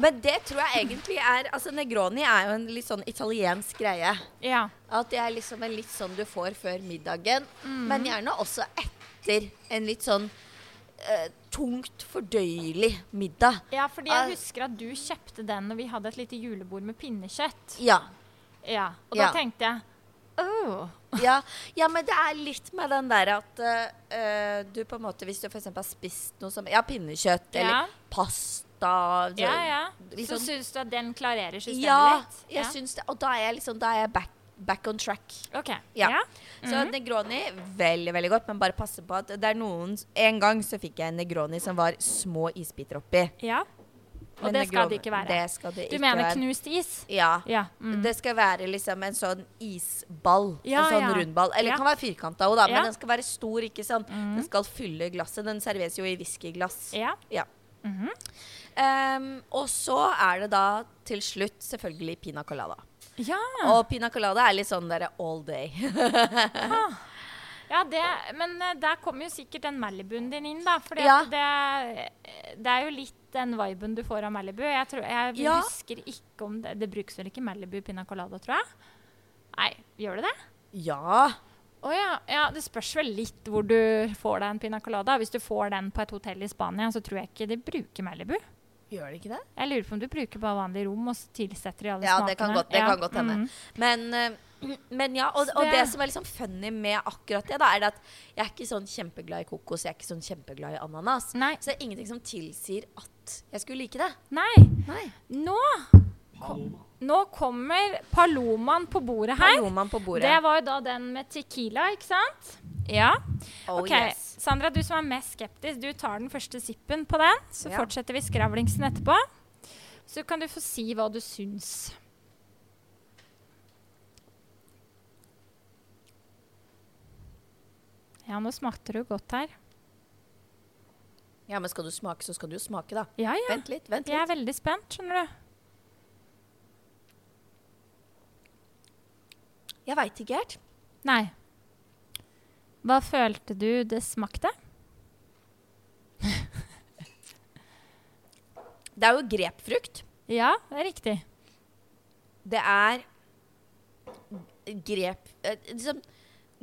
Speaker 4: Men det tror jeg egentlig er Altså, Negroni er jo en litt sånn italiensk greie.
Speaker 3: Ja.
Speaker 4: At det er liksom en litt sånn du får før middagen,
Speaker 3: Mm.
Speaker 4: men gjerne også etter en litt sånn eh, tungt fordøyelig middag.
Speaker 3: ja, fordi jeg husker at du kjøpte den når vi hadde et lite julebord med pinnekjøtt.
Speaker 4: Ja.
Speaker 3: Ja, Og da
Speaker 4: Ja.
Speaker 3: tenkte jeg oh.
Speaker 4: Ja, ja, men det er litt med den der at eh, du på en måte Hvis du f.eks. har spist noe som Ja, pinnekjøtt
Speaker 3: Ja.
Speaker 4: eller pasta
Speaker 3: Ja, ja.
Speaker 4: litt
Speaker 3: Så
Speaker 4: sånn-
Speaker 3: syns du at den klarerer systemet
Speaker 4: Ja,
Speaker 3: litt?
Speaker 4: jeg syns det. Og da er jeg liksom Da er jeg back, back on track.
Speaker 3: OK.
Speaker 4: Ja.
Speaker 3: Ja.
Speaker 4: Så
Speaker 3: Mhm.
Speaker 4: Negroni veldig, veldig godt, men bare passe på at det er noen En gang så fikk jeg en Negroni som var små isbiter oppi.
Speaker 3: ja. Og
Speaker 4: Men
Speaker 3: det skal det
Speaker 4: Negroni-
Speaker 3: ikke være.
Speaker 4: Det skal det
Speaker 3: Du
Speaker 4: ikke
Speaker 3: mener
Speaker 4: være.
Speaker 3: knust is?
Speaker 4: Ja.
Speaker 3: Ja. Mm.
Speaker 4: Det skal være liksom en sånn isball.
Speaker 3: Ja,
Speaker 4: en sånn
Speaker 3: ja.
Speaker 4: rundball. Eller den
Speaker 3: Ja.
Speaker 4: kan være firkanta òg, da, men
Speaker 3: Ja. Mm.
Speaker 4: den skal være stor. ikke sant? Den skal fylle glasset. Den serveres jo i whiskyglass.
Speaker 3: ja.
Speaker 4: Ja.
Speaker 3: Mhm.
Speaker 4: Ehm, og så er det da til slutt selvfølgelig pina colada.
Speaker 3: ja.
Speaker 4: Og pina colada er litt sånn derre all day.
Speaker 3: Ja, det, men eh, der kommer jo sikkert den Malibuen din inn, da. For
Speaker 4: Ja.
Speaker 3: det, det er jo litt den viben du får av Malibu. Jeg, tror, jeg
Speaker 4: Ja.
Speaker 3: husker ikke om det Det brukes vel ikke Malibu pina colada, tror jeg? Nei, gjør det det?
Speaker 4: ja.
Speaker 3: Å ja, ja. Det spørs vel litt hvor du får deg en pina colada. Hvis du får den på et hotell i Spania, så tror jeg ikke de bruker Malibu.
Speaker 4: Gjør det ikke det?
Speaker 3: Jeg lurer på om du bruker bare vanlig rom, og så tilsetter de alle
Speaker 4: Ja,
Speaker 3: smakene.
Speaker 4: det kan godt, det
Speaker 3: Ja,
Speaker 4: kan godt hende.
Speaker 3: mm.
Speaker 4: Men, eh, men ja, og, og
Speaker 3: Det-
Speaker 4: det som er liksom funny med akkurat det, da, er det at jeg er ikke sånn kjempeglad i kokos, jeg er ikke sånn kjempeglad i ananas.
Speaker 3: Nei.
Speaker 4: Så det er ingenting som tilsier at jeg skulle like det.
Speaker 3: Nei,
Speaker 4: Nei.
Speaker 3: nå Nå kommer Palomaen på bordet her.
Speaker 4: Palomaen på bordet.
Speaker 3: Det var jo da den med tequila, ikke sant? Ja.
Speaker 4: Oh,
Speaker 3: Ok,
Speaker 4: yes.
Speaker 3: Sandra, du som er mest skeptisk, du tar den første sippen på den. Så
Speaker 4: Ja.
Speaker 3: fortsetter vi skravlingsen etterpå. Så kan du få si hva du syns. Ja, nå smakte det jo godt her.
Speaker 4: Ja, men skal du smake, så skal du jo smake, da.
Speaker 3: Ja, ja.
Speaker 4: Vent litt, vent
Speaker 3: Jeg er
Speaker 4: litt.
Speaker 3: veldig spent, skjønner du.
Speaker 4: Jeg veit ikke helt.
Speaker 3: Nei. Hva følte du det smakte?
Speaker 4: Det er jo grepfrukt.
Speaker 3: Ja, det er riktig.
Speaker 4: Det er grep... eh, Liksom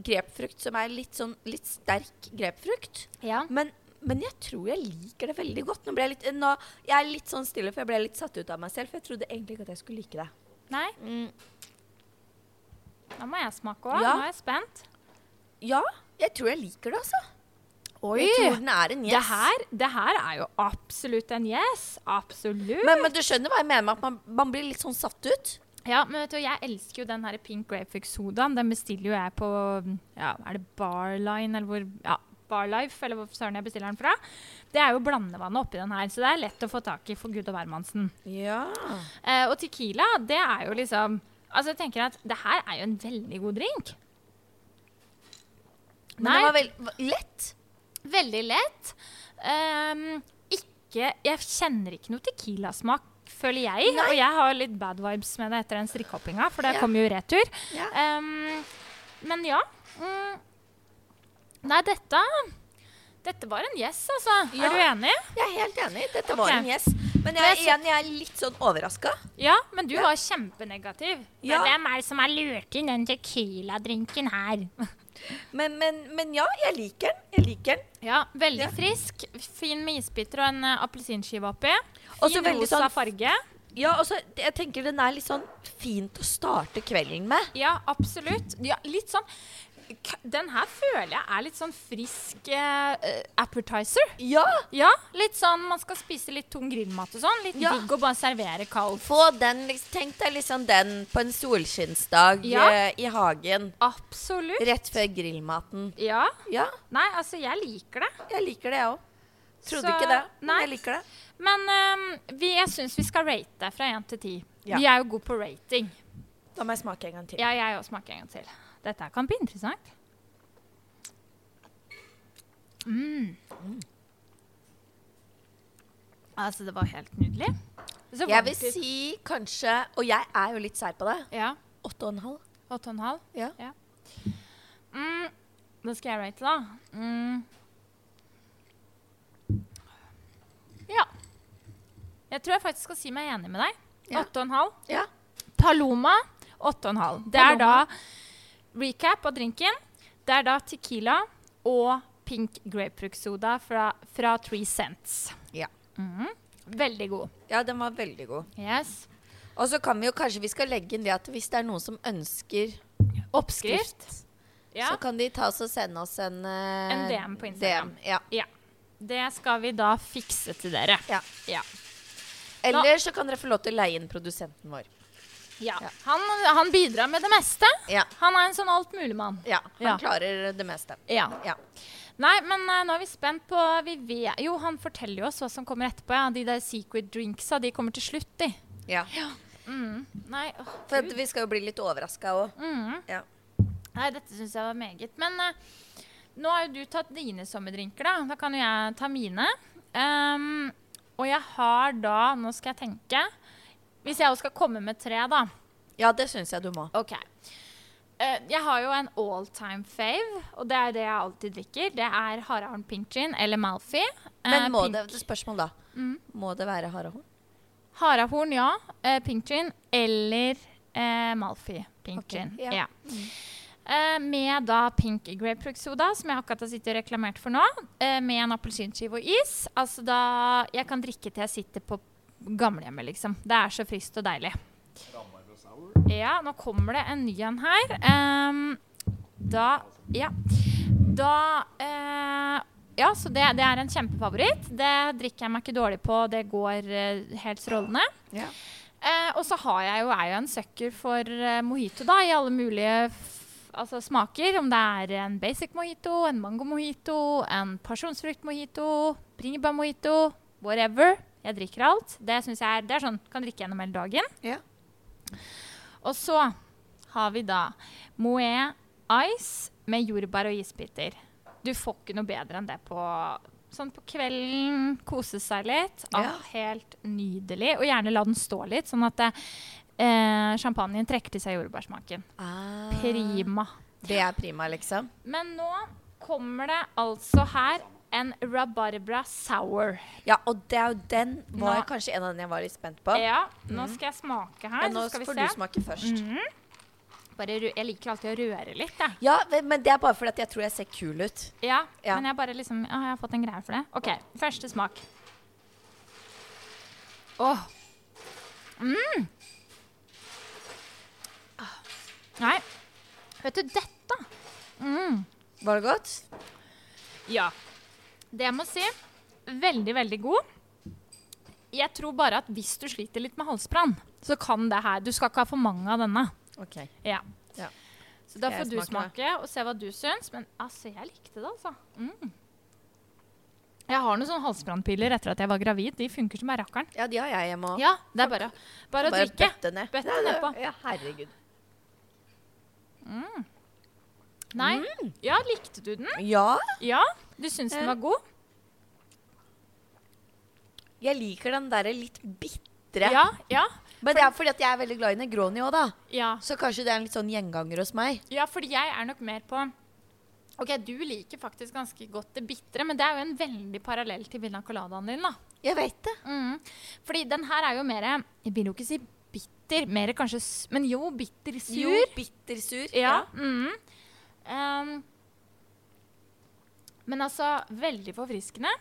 Speaker 4: grepfrukt som er litt sånn litt sterk grepfrukt.
Speaker 3: Ja.
Speaker 4: Men, men jeg tror jeg liker det veldig godt. Nå ble jeg, litt, eh, nå, jeg er litt sånn stille, for jeg ble litt satt ut av meg selv. For jeg trodde egentlig ikke at jeg skulle like det.
Speaker 3: Nei, da må jeg smake òg.
Speaker 4: Mm. Ja.
Speaker 3: Nå er jeg spent.
Speaker 4: Ja, jeg tror jeg liker det, altså.
Speaker 3: Oi!
Speaker 4: Jeg tror den er en yes.
Speaker 3: Det, her, det her er jo absolutt en yes. Absolutt.
Speaker 4: Men, men du skjønner hva jeg mener med at man, man blir litt sånn satt ut?
Speaker 3: ja, men vet du, jeg elsker jo den her pink grapefruit sodaen. Den bestiller jo jeg på ja, Er det Barline, eller hvor ja, Barlife, eller hvor søren jeg bestiller den fra. Det er jo blandevannet oppi den her, så det er lett å få tak i for gud og hvermannsen.
Speaker 4: Ja.
Speaker 3: Eh, og tequila, det er jo liksom Altså, jeg tenker at det her er jo en veldig god drink.
Speaker 4: Men det var veldig lett.
Speaker 3: Veldig lett. Ehm, ikke Jeg kjenner ikke noe tequilasmak, føler jeg.
Speaker 4: Nei.
Speaker 3: Og jeg har litt bad vibes med det etter den strikkehoppinga, for det
Speaker 4: Ja.
Speaker 3: kom jo i retur.
Speaker 4: Ja.
Speaker 3: Ehm, men ja. Mm. Nei, dette dette var en yes, altså.
Speaker 4: Ja.
Speaker 3: Er du enig?
Speaker 4: Jeg er helt enig. Dette var
Speaker 3: Ok.
Speaker 4: en yes. Men jeg,
Speaker 3: Men
Speaker 4: er
Speaker 3: jeg
Speaker 4: igjen, jeg er litt sånn overraska.
Speaker 3: Ja, men du var kjempenegativ. Men
Speaker 4: Ja.
Speaker 3: hvem er det som har lurt inn den tequila-drinken her?
Speaker 4: Men, men, men ja, jeg liker den. Jeg liker den.
Speaker 3: Ja, veldig
Speaker 4: Ja.
Speaker 3: frisk. Fin med isbiter og en eh, appelsinskive oppi.
Speaker 4: Og så
Speaker 3: Fin
Speaker 4: veldig
Speaker 3: rosa
Speaker 4: sånn-
Speaker 3: farge.
Speaker 4: Ja, og så jeg tenker den er litt sånn fint å starte kvelden med.
Speaker 3: Ja, absolutt. Ja, litt sånn k- Den her føler jeg er litt sånn frisk eh, eh, appetizer.
Speaker 4: Ja!
Speaker 3: Ja, litt sånn man skal spise litt tung grillmat og sånn. Litt
Speaker 4: Ja.
Speaker 3: digg å bare servere kald.
Speaker 4: Få den, liksom, tenk deg liksom den på en solskinnsdag
Speaker 3: Ja.
Speaker 4: eh, i hagen.
Speaker 3: Absolutt.
Speaker 4: Rett før grillmaten.
Speaker 3: Ja.
Speaker 4: Ja,
Speaker 3: Nei, altså, jeg liker det.
Speaker 4: jeg liker det, jeg òg. Trodde
Speaker 3: Så-
Speaker 4: ikke det, men
Speaker 3: nei.
Speaker 4: jeg liker det.
Speaker 3: Men eh, vi, jeg syns vi skal rate det fra én til ti.
Speaker 4: Ja.
Speaker 3: Vi er jo gode på rating.
Speaker 4: Da må jeg smake en gang til.
Speaker 3: Ja, jeg òg smaker en gang til. Dette her kan bli interessant. Mm. Altså, det var helt nydelig. Så
Speaker 4: Jeg vil
Speaker 3: varmt ut.
Speaker 4: si kanskje, og jeg er jo litt sær på det,
Speaker 3: Ja.
Speaker 4: åtte og en halv.
Speaker 3: Åtte og en halv?
Speaker 4: Ja.
Speaker 3: Mm. Nå skal jeg rate, da. Mm. Ja. Jeg tror jeg faktisk skal si meg enig med deg.
Speaker 4: Ja.
Speaker 3: Åtte og en halv.
Speaker 4: Ja.
Speaker 3: Paloma, åtte og en halv. Det er da recap av drinken. Det er da tequila og pink grapefruktsoda fra, fra Three Cents.
Speaker 4: Ja.
Speaker 3: Mhm. Veldig god.
Speaker 4: ja, den var veldig god.
Speaker 3: Yes.
Speaker 4: Og så kan vi jo kanskje vi skal legge inn det at hvis det er noen som ønsker
Speaker 3: Oppskrift. Ja.
Speaker 4: så kan de ta oss og sende oss en eh,
Speaker 3: En DM på Instagram.
Speaker 4: DM, ja.
Speaker 3: ja. Det skal vi da fikse til dere.
Speaker 4: Ja.
Speaker 3: Ja.
Speaker 4: Eller så kan dere få lov til å leie inn produsenten vår.
Speaker 3: Ja.
Speaker 4: Ja.
Speaker 3: Han, han bidrar med det meste.
Speaker 4: Ja.
Speaker 3: Han er en sånn altmuligmann.
Speaker 4: ja han
Speaker 3: Ja.
Speaker 4: klarer det meste.
Speaker 3: Ja.
Speaker 4: Ja.
Speaker 3: Nei, men eh, nå er vi spent på vi vet, Jo, han forteller jo oss hva som kommer etterpå. Ja. De der secret drinksa, de kommer til slutt, de.
Speaker 4: ja.
Speaker 3: Mm. Nei, åh,
Speaker 4: For at
Speaker 3: Gud.
Speaker 4: vi skal jo bli litt overraska òg.
Speaker 3: Mm.
Speaker 4: Ja.
Speaker 3: Nei, dette syns jeg var meget. Men eh, nå har jo du tatt dine sommerdrinker, da. Da kan jo jeg ta mine. Ehm, og jeg har da Nå skal jeg tenke. Hvis jeg også skal komme med tre, da.
Speaker 4: ja, det syns jeg du må.
Speaker 3: OK. Eh, jeg har jo en all time fave, og det er det jeg alltid drikker. Det er Harearn Pink Gin eller Malfi. Eh,
Speaker 4: Men må
Speaker 3: pink, Mm.
Speaker 4: det, det spørsmål da. Må det være harehorn?
Speaker 3: Harahorn, ja. Eh, pink gin eller eh, Malfi pink
Speaker 4: Ok,
Speaker 3: gin.
Speaker 4: ja. Mm.
Speaker 3: Ja. Eh, med da pink grapefruktsoda, som jeg akkurat har sittet og reklamert for nå. Eh, med en appelsinskive og is. Altså da Jeg kan drikke til jeg sitter på gamlehjemmet, liksom. Det er så friskt og deilig. Ja, nå kommer det en ny en her. Ehm, da Ja. Da eh, Ja, så det, det er en kjempefavoritt. Det drikker jeg meg ikke dårlig på. Det går eh, helt strålende.
Speaker 4: Ja.
Speaker 3: Eh, og så har jeg jo, er jo en søkker for eh, mojito, da, i alle mulige f altså, smaker. Om det er en basic mojito, en mango mojito, en pasjonsfrukt mojito, bringebær mojito, whatever. Jeg drikker alt. Det synes jeg er, det er sånn kan drikke gjennom hele dagen.
Speaker 4: Ja.
Speaker 3: Og så har vi da Moët Ice med jordbær og isbiter. Du får ikke noe bedre enn det på Sånn på kvelden, kose seg litt. Ah,
Speaker 4: Ja.
Speaker 3: Helt nydelig. Og gjerne la den stå litt, sånn at det, eh, champagnen trekker til seg jordbærsmaken.
Speaker 4: Ah,
Speaker 3: Prima.
Speaker 4: det er prima, liksom?
Speaker 3: Men nå kommer det altså her en rabarbra sour.
Speaker 4: Ja, og det er jo den var
Speaker 3: Nå-
Speaker 4: kanskje en av den jeg var litt spent på.
Speaker 3: Ja, nå skal jeg smake her.
Speaker 4: Men Ah. nå
Speaker 3: så skal vi
Speaker 4: får
Speaker 3: se. Mm.
Speaker 4: du smake først.
Speaker 3: Bare, ru- jeg liker alltid å røre litt, jeg.
Speaker 4: Ja, ve- men det er bare fordi at jeg tror jeg ser kul ut.
Speaker 3: Ja,
Speaker 4: Ja.
Speaker 3: men jeg bare liksom ja, Jeg har fått en greie for det. OK, første smak. Åh. Mm. Ah. Nei, vet du dette? Mm.
Speaker 4: Var det godt?
Speaker 3: Ja. Det jeg må si, veldig, veldig god. Jeg tror bare at hvis du sliter litt med halsbrann, så kan det her Du skal ikke ha for mange av denne.
Speaker 4: Ok.
Speaker 3: Ja.
Speaker 4: Ja.
Speaker 3: Så da
Speaker 4: Skal
Speaker 3: får
Speaker 4: jeg
Speaker 3: du
Speaker 4: smake,
Speaker 3: smake og se hva du syns. Men altså, jeg likte det, altså. Mm. Jeg har noen sånne halsbrannpiller etter at jeg var gravid. De funker som ei rakkeren.
Speaker 4: Ja, de har jeg hjemme òg.
Speaker 3: Ja, det er bare, bare å drikke.
Speaker 4: bøtte ned.
Speaker 3: Bøtte
Speaker 4: Ja,
Speaker 3: nedpå.
Speaker 4: Ja, herregud.
Speaker 3: Nei. Ja, likte du den?
Speaker 4: Ja,
Speaker 3: Ja, du syns den
Speaker 4: Ja.
Speaker 3: var god?
Speaker 4: jeg liker den derre litt bitre.
Speaker 3: Ja. Ja,
Speaker 4: Men det er fordi at jeg er veldig glad i Negroni òg, da.
Speaker 3: ja.
Speaker 4: Så kanskje det er en litt sånn gjenganger hos meg.
Speaker 3: ja fordi jeg er nok mer på OK, du liker faktisk ganske godt det bitre, men det er jo en veldig parallell til Villa Coladaen din, da.
Speaker 4: Jeg vet det.
Speaker 3: Mm. Fordi den her er jo mer Jeg vil jo ikke si bitter, mer kanskje s- Men jo, bitter sur.
Speaker 4: Jo, bittersur.
Speaker 3: Ja. mhm. Ehm, men altså, veldig forfriskende.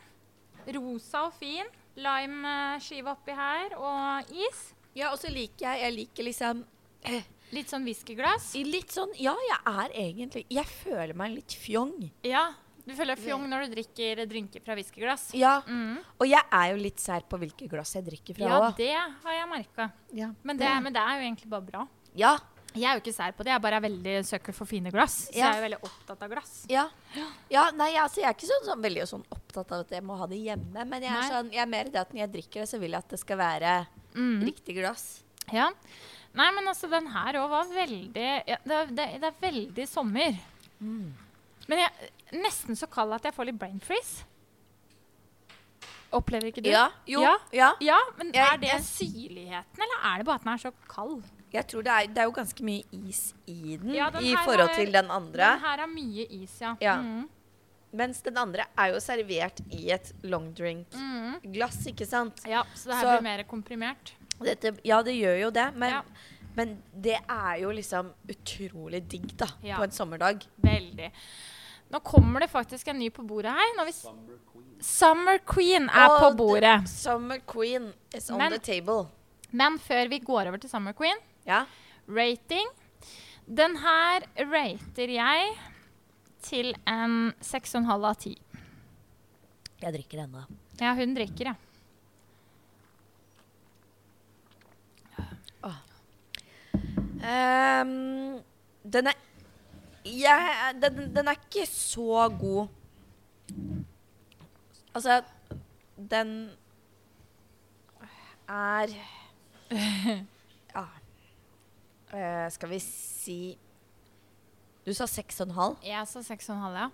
Speaker 3: Rosa og fin. Lime-skive oppi her, og is.
Speaker 4: Ja, og så liker jeg Jeg liker liksom eh,
Speaker 3: Litt sånn whiskyglass.
Speaker 4: i litt sånn Ja, jeg er egentlig Jeg føler meg litt fjong.
Speaker 3: Ja, du føler fjong når du drikker drinker fra whiskyglass.
Speaker 4: Ja.
Speaker 3: Mm.
Speaker 4: Og jeg er jo litt sær på hvilke glass jeg drikker fra
Speaker 3: Ja,
Speaker 4: òg.
Speaker 3: det har jeg merka.
Speaker 4: Ja.
Speaker 3: Men, det- men det er jo egentlig bare bra.
Speaker 4: ja.
Speaker 3: Jeg er jo ikke sær på det, jeg bare er veldig søker for fine glass. Så
Speaker 4: Ja.
Speaker 3: jeg er jo veldig opptatt av glass.
Speaker 4: Ja. ja. Nei, altså, jeg er ikke sånn, sånn veldig sånn opptatt av at jeg må ha det hjemme, men jeg er,
Speaker 3: Nei.
Speaker 4: sånn, jeg er mer i det at når jeg drikker det, så vil jeg at det skal være
Speaker 3: Mm.
Speaker 4: riktig glass.
Speaker 3: Ja. Nei, men altså, den her òg var veldig ja, det, er- det, er- det er veldig sommer.
Speaker 4: Mm.
Speaker 3: Men jeg nesten så kald at jeg får litt brain freeze. Opplever ikke du?
Speaker 4: Ja. Jo.
Speaker 3: Ja.
Speaker 4: Ja.
Speaker 3: Ja, men
Speaker 4: Jeg-
Speaker 3: er det
Speaker 4: jeg-
Speaker 3: syrligheten, eller er det bare at den er så kald?
Speaker 4: Jeg tror det er, det er jo ganske mye is i den,
Speaker 3: Ja, den
Speaker 4: i
Speaker 3: her
Speaker 4: forhold
Speaker 3: har-
Speaker 4: til den andre.
Speaker 3: Den her er mye is, ja.
Speaker 4: Ja.
Speaker 3: Mm.
Speaker 4: Mens den andre er jo servert i et long drink.
Speaker 3: Mm.
Speaker 4: Glass, ikke sant?
Speaker 3: ja så det her
Speaker 4: Så-
Speaker 3: blir mer komprimert.
Speaker 4: Dette, ja, det gjør jo det, men,
Speaker 3: Ja.
Speaker 4: men det er jo liksom utrolig digg, da,
Speaker 3: Ja.
Speaker 4: på en sommerdag.
Speaker 3: Veldig. Nå kommer det faktisk en ny på bordet her. Når vi s- Summer Queen er
Speaker 4: Og
Speaker 3: på
Speaker 4: the
Speaker 3: bordet.
Speaker 4: Summer queen is on
Speaker 3: Men-
Speaker 4: the table.
Speaker 3: Men før vi går over til Summer Queen,
Speaker 4: Ja.
Speaker 3: rating. Den her rater jeg til en 6,5 av 10.
Speaker 4: Jeg drikker ennå.
Speaker 3: Ja, hun drikker, ja.
Speaker 4: Ehm, den er jeg, den, den er ikke så god. Altså, den er Ja. Eh, skal vi si Du sa seks og en halv.
Speaker 3: Jeg sa 6,5, ja.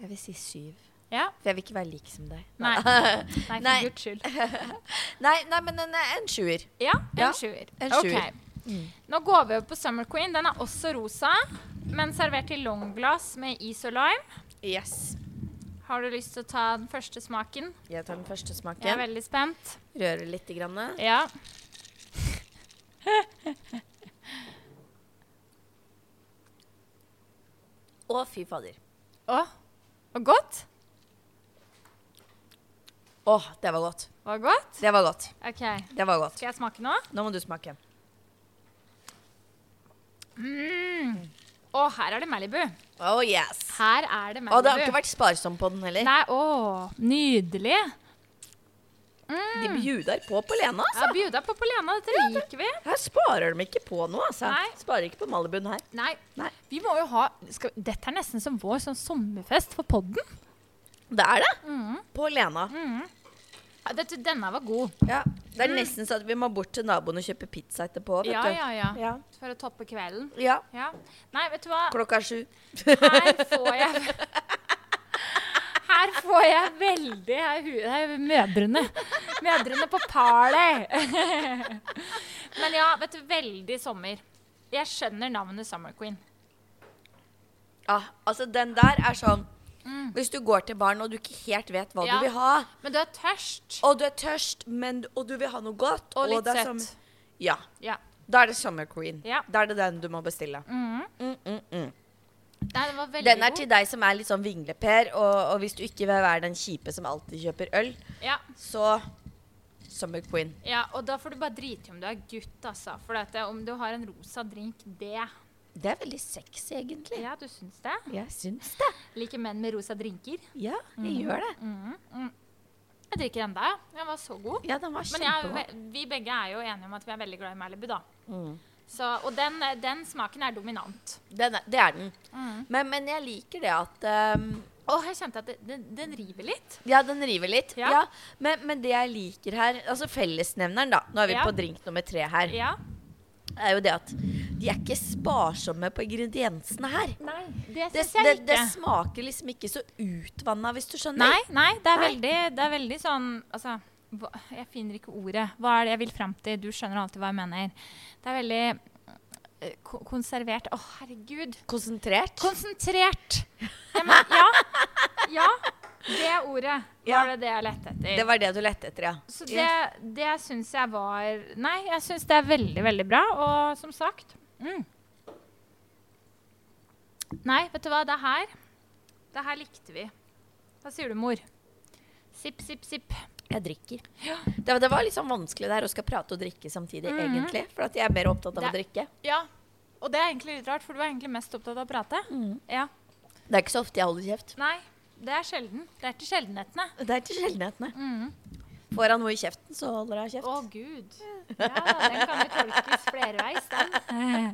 Speaker 4: Jeg vil si syv.
Speaker 3: Ja,
Speaker 4: For jeg vil ikke være lik som deg.
Speaker 3: Nei. Nei, for
Speaker 4: Nei.
Speaker 3: guds skyld.
Speaker 4: Nei, nei men en, en sjuer.
Speaker 3: Ja, en
Speaker 4: Ja,
Speaker 3: sjuer.
Speaker 4: en
Speaker 3: Ok.
Speaker 4: sjuer. Mm.
Speaker 3: Nå går vi over på Summer Queen. Den er også rosa, men servert i longglass med is og lime.
Speaker 4: Yes.
Speaker 3: Har du lyst til å ta den første smaken?
Speaker 4: Jeg tar den første
Speaker 3: Jeg er
Speaker 4: smaken.
Speaker 3: veldig spent.
Speaker 4: Rører litt. Grann.
Speaker 3: Ja.
Speaker 4: Å, fy fader.
Speaker 3: Å, var godt?
Speaker 4: Å, det var godt.
Speaker 3: Var godt?
Speaker 4: Det var godt.
Speaker 3: OK.
Speaker 4: Det var godt.
Speaker 3: Skal jeg smake nå?
Speaker 4: Nå må du smake.
Speaker 3: Mm. Å, her er det Malibu.
Speaker 4: Oh yes.
Speaker 3: Her er det Malibu.
Speaker 4: Og det har ikke vært sparsom på den heller.
Speaker 3: Nei, å, nydelig.
Speaker 4: De bjuder på på Lena, altså.
Speaker 3: Ja, bjuda på på Lena, dette liker vi.
Speaker 4: Her sparer de ikke på noe, altså.
Speaker 3: Nei.
Speaker 4: Sparer ikke på Malibuen her.
Speaker 3: Nei,
Speaker 4: Nei.
Speaker 3: vi må jo ha skal, Dette er nesten som vår sånn sommerfest for podden.
Speaker 4: Det er det.
Speaker 3: Mm.
Speaker 4: På Lena.
Speaker 3: Ja, dette, denne var god.
Speaker 4: Ja. Det er nesten så at vi må bort til naboen og kjøpe pizza etterpå. Vet
Speaker 3: Mm. Ja,
Speaker 4: du.
Speaker 3: ja, ja.
Speaker 4: ja.
Speaker 3: For å toppe kvelden.
Speaker 4: Ja.
Speaker 3: Ja. Nei, vet du hva?
Speaker 4: Klokka er sju.
Speaker 3: Her får jeg Her får jeg veldig her hu- her- Mødrene. Mødrene på parley. Men ja, vet du, veldig sommer. Jeg skjønner navnet Summer Queen.
Speaker 4: Ja, altså den der er sånn Hvis du går til baren og du ikke helt vet hva
Speaker 3: Mm. Ja.
Speaker 4: du vil ha,
Speaker 3: Men du er tørst.
Speaker 4: og du er tørst, men, og du vil ha noe godt
Speaker 3: Og litt
Speaker 4: det er
Speaker 3: søtt.
Speaker 4: som- Ja.
Speaker 3: Ja.
Speaker 4: Da er det Summer Queen.
Speaker 3: Ja.
Speaker 4: Da er det den du må bestille. Mm, mm, mm.
Speaker 3: Nei, den var veldig
Speaker 4: Den er
Speaker 3: god.
Speaker 4: til deg som er litt sånn vingleper, og, og hvis du ikke vil være den kjipe som alltid kjøper øl,
Speaker 3: Ja,
Speaker 4: så Summer Queen.
Speaker 3: ja, og da får du bare drite i om du er gutt, altså. For at, eh, om du har en rosa drink, det
Speaker 4: Det er veldig sexy, egentlig.
Speaker 3: Ja, du syns det?
Speaker 4: Jeg syns det.
Speaker 3: Liker menn med rosa drinker?
Speaker 4: Ja, jeg gjør det.
Speaker 3: Jeg drikker enda. Den var så god.
Speaker 4: Ja, den var
Speaker 3: Men jeg,
Speaker 4: kjempegod.
Speaker 3: er ve- vi begge er jo enige om at vi er veldig glad i Malibu, da.
Speaker 4: Mm.
Speaker 3: Så, og den, eh, den smaken er dominant.
Speaker 4: Den er, det er den.
Speaker 3: Mm.
Speaker 4: Men, men jeg liker det at um,
Speaker 3: Åh, jeg kjente at det, den, den river litt.
Speaker 4: Ja, den river litt.
Speaker 3: Ja.
Speaker 4: Ja. men, men det jeg liker her Altså fellesnevneren, da. Nå er vi
Speaker 3: Ja.
Speaker 4: på drink nummer tre her.
Speaker 3: Ja.
Speaker 4: Er jo det at de er ikke sparsomme på ingrediensene her.
Speaker 3: Nei,
Speaker 4: Det,
Speaker 3: det syns
Speaker 4: det,
Speaker 3: jeg
Speaker 4: det
Speaker 3: ikke.
Speaker 4: smaker liksom ikke så utvanna, hvis du skjønner.
Speaker 3: Nei, nei, det er,
Speaker 4: Nei.
Speaker 3: Veldig, det er veldig sånn Altså, hva, jeg finner ikke ordet. Hva er det jeg vil fram til? Du skjønner alltid hva jeg mener. Det er veldig eh, ko- konservert. Å, herregud.
Speaker 4: Konsentrert.
Speaker 3: Konsentrert. Ja, men, ja. ja. Det ordet
Speaker 4: Ja.
Speaker 3: var det det jeg lette etter.
Speaker 4: det var det du lette etter, ja.
Speaker 3: Så
Speaker 4: Ja.
Speaker 3: det, det syns jeg var Nei, jeg syns det er veldig, veldig bra. Og som sagt mm. Nei, vet du hva? Det her Det her likte vi. Hva sier du, mor? Sipp, sipp, sipp.
Speaker 4: Jeg drikker. Det, det var litt sånn vanskelig der å skal prate og drikke samtidig, egentlig. For at jeg Mhm. er mer opptatt av å
Speaker 3: Det-
Speaker 4: drikke.
Speaker 3: Ja. Og det er egentlig litt rart, for du er egentlig mest opptatt av å prate. Ja.
Speaker 4: Det er ikke så ofte jeg holder kjeft.
Speaker 3: Mm. Nei, det er sjelden. Det er til sjeldenhetene.
Speaker 4: Det er til sjeldenhetene. Mhm. Får han noe i kjeften, så holder jeg kjeft.
Speaker 3: Å, gud. Ja, den kan jo tolkes flerveis, den.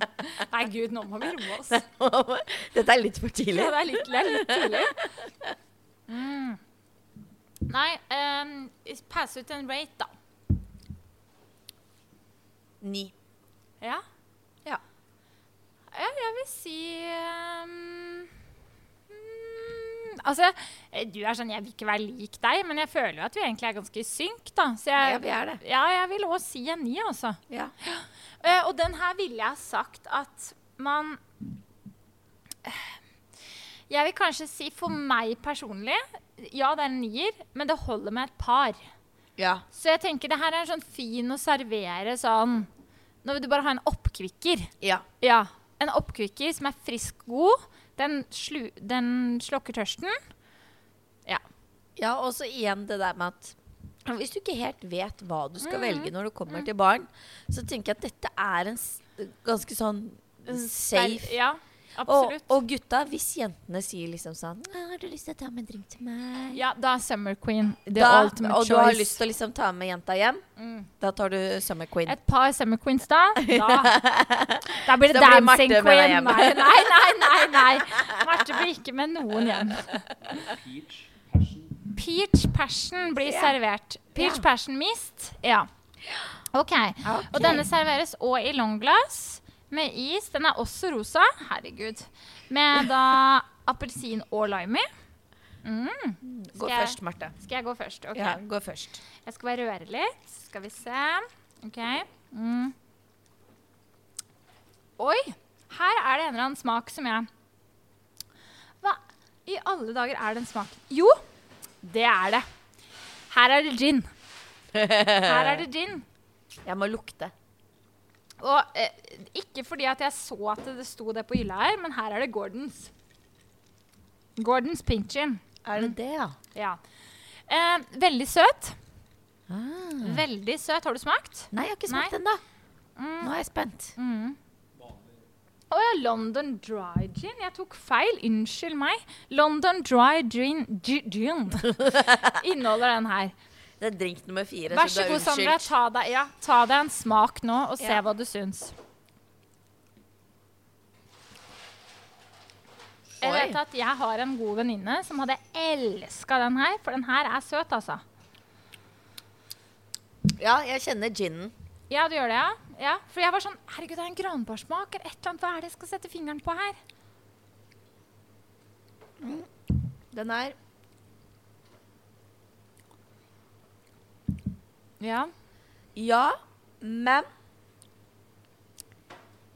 Speaker 3: Nei, gud, nå må vi roe oss.
Speaker 4: Dette er litt for tidlig.
Speaker 3: Ja, det er litt, det er litt tidlig. Mm. Nei, um, pass ut en rate, da.
Speaker 4: Ni.
Speaker 3: Ja.
Speaker 4: Ja.
Speaker 3: ja jeg vil si ehm, mm, Altså, eh, du er sånn Jeg vil ikke være lik deg, men jeg føler jo at vi egentlig er ganske synk, da. Så
Speaker 4: Ja,
Speaker 3: jeg,
Speaker 4: vi er det.
Speaker 3: ja, jeg vil òg si en ni, altså.
Speaker 4: Ja.
Speaker 3: Eh, og den her ville jeg sagt at man Eh, Jeg vil kanskje si for meg personlig Ja, det er en nier, men det holder med et par.
Speaker 4: ja.
Speaker 3: Så jeg tenker det her er sånn fin å servere sånn Nå vil du bare ha en oppkvikker.
Speaker 4: ja.
Speaker 3: Ja. En oppkvikker som er frisk god. Den, slu, den slukker tørsten.
Speaker 4: Ja, og så igjen det der med at hvis du ikke helt vet hva du skal velge når du kommer til barn, så tenker jeg at dette er en s- ganske sånn safe
Speaker 3: Ja,
Speaker 4: og,
Speaker 3: absolutt.
Speaker 4: og gutta, hvis jentene sier liksom sånn «Å, 'Har du lyst til å ta med en drink til meg?'
Speaker 3: ja, da er Summer Queen the
Speaker 4: Da,
Speaker 3: ultimate
Speaker 4: og
Speaker 3: choice.
Speaker 4: du har lyst til å liksom ta med jenta hjem,
Speaker 3: Mm.
Speaker 4: da tar du Summer Queen.
Speaker 3: Et par Summer Queens da? Da, da blir det
Speaker 4: Da blir Marte med deg
Speaker 3: Dancing Queen.
Speaker 4: hjem.
Speaker 3: Nei, nei, nei, nei, nei. Marte blir ikke med noen hjem.
Speaker 2: Peach, passion.
Speaker 3: Peach passion blir
Speaker 4: Ja.
Speaker 3: servert. Peach
Speaker 4: Ja.
Speaker 3: passion mist. Ja. OK. Og denne serveres òg i longglass med is. Den er også rosa. Herregud. Med da appelsin og limey. Mm.
Speaker 4: Gå
Speaker 3: skal jeg-
Speaker 4: først, Marte.
Speaker 3: Skal jeg gå først? OK.
Speaker 4: Ja, gå først.
Speaker 3: Jeg skal bare røre litt. Skal vi se. OK. Mm. Oi! Her er det en eller annen smak som jeg Hva i alle dager er den smaken? Jo, det er det. Her er det gin. Her er det gin.
Speaker 4: Jeg må lukte.
Speaker 3: Og eh, ikke fordi at jeg så at det sto det på hylla her, men her er det Gordons. Gordons pink gin.
Speaker 4: Er det det, ja?
Speaker 3: Ja. Eh, veldig søt.
Speaker 4: Ah.
Speaker 3: Veldig søt. Har du smakt?
Speaker 4: Nei, jeg har ikke smakt
Speaker 3: Nei.
Speaker 4: ennå.
Speaker 3: Mm.
Speaker 4: Nå er jeg spent.
Speaker 3: Mm. Å ja, London Dry Gin. Jeg tok feil. Unnskyld meg. London Dry Gin, gi- gin. inneholder den her.
Speaker 4: Det er drink nummer fire,
Speaker 3: Vær så god, Sandra. Ta deg, ja, ta deg en smak nå og se
Speaker 4: Ja.
Speaker 3: hva du syns. Jeg
Speaker 4: Oi.
Speaker 3: vet at jeg har en god venninne som hadde elska den her, for den her er søt, altså.
Speaker 4: Ja, jeg kjenner ginen.
Speaker 3: Ja, du gjør det, ja? ja? For jeg var sånn Herregud, det er en granbarsmak eller et eller annet. Hva er det jeg skal sette fingeren på her?
Speaker 4: Den er
Speaker 3: Ja.
Speaker 4: Ja, men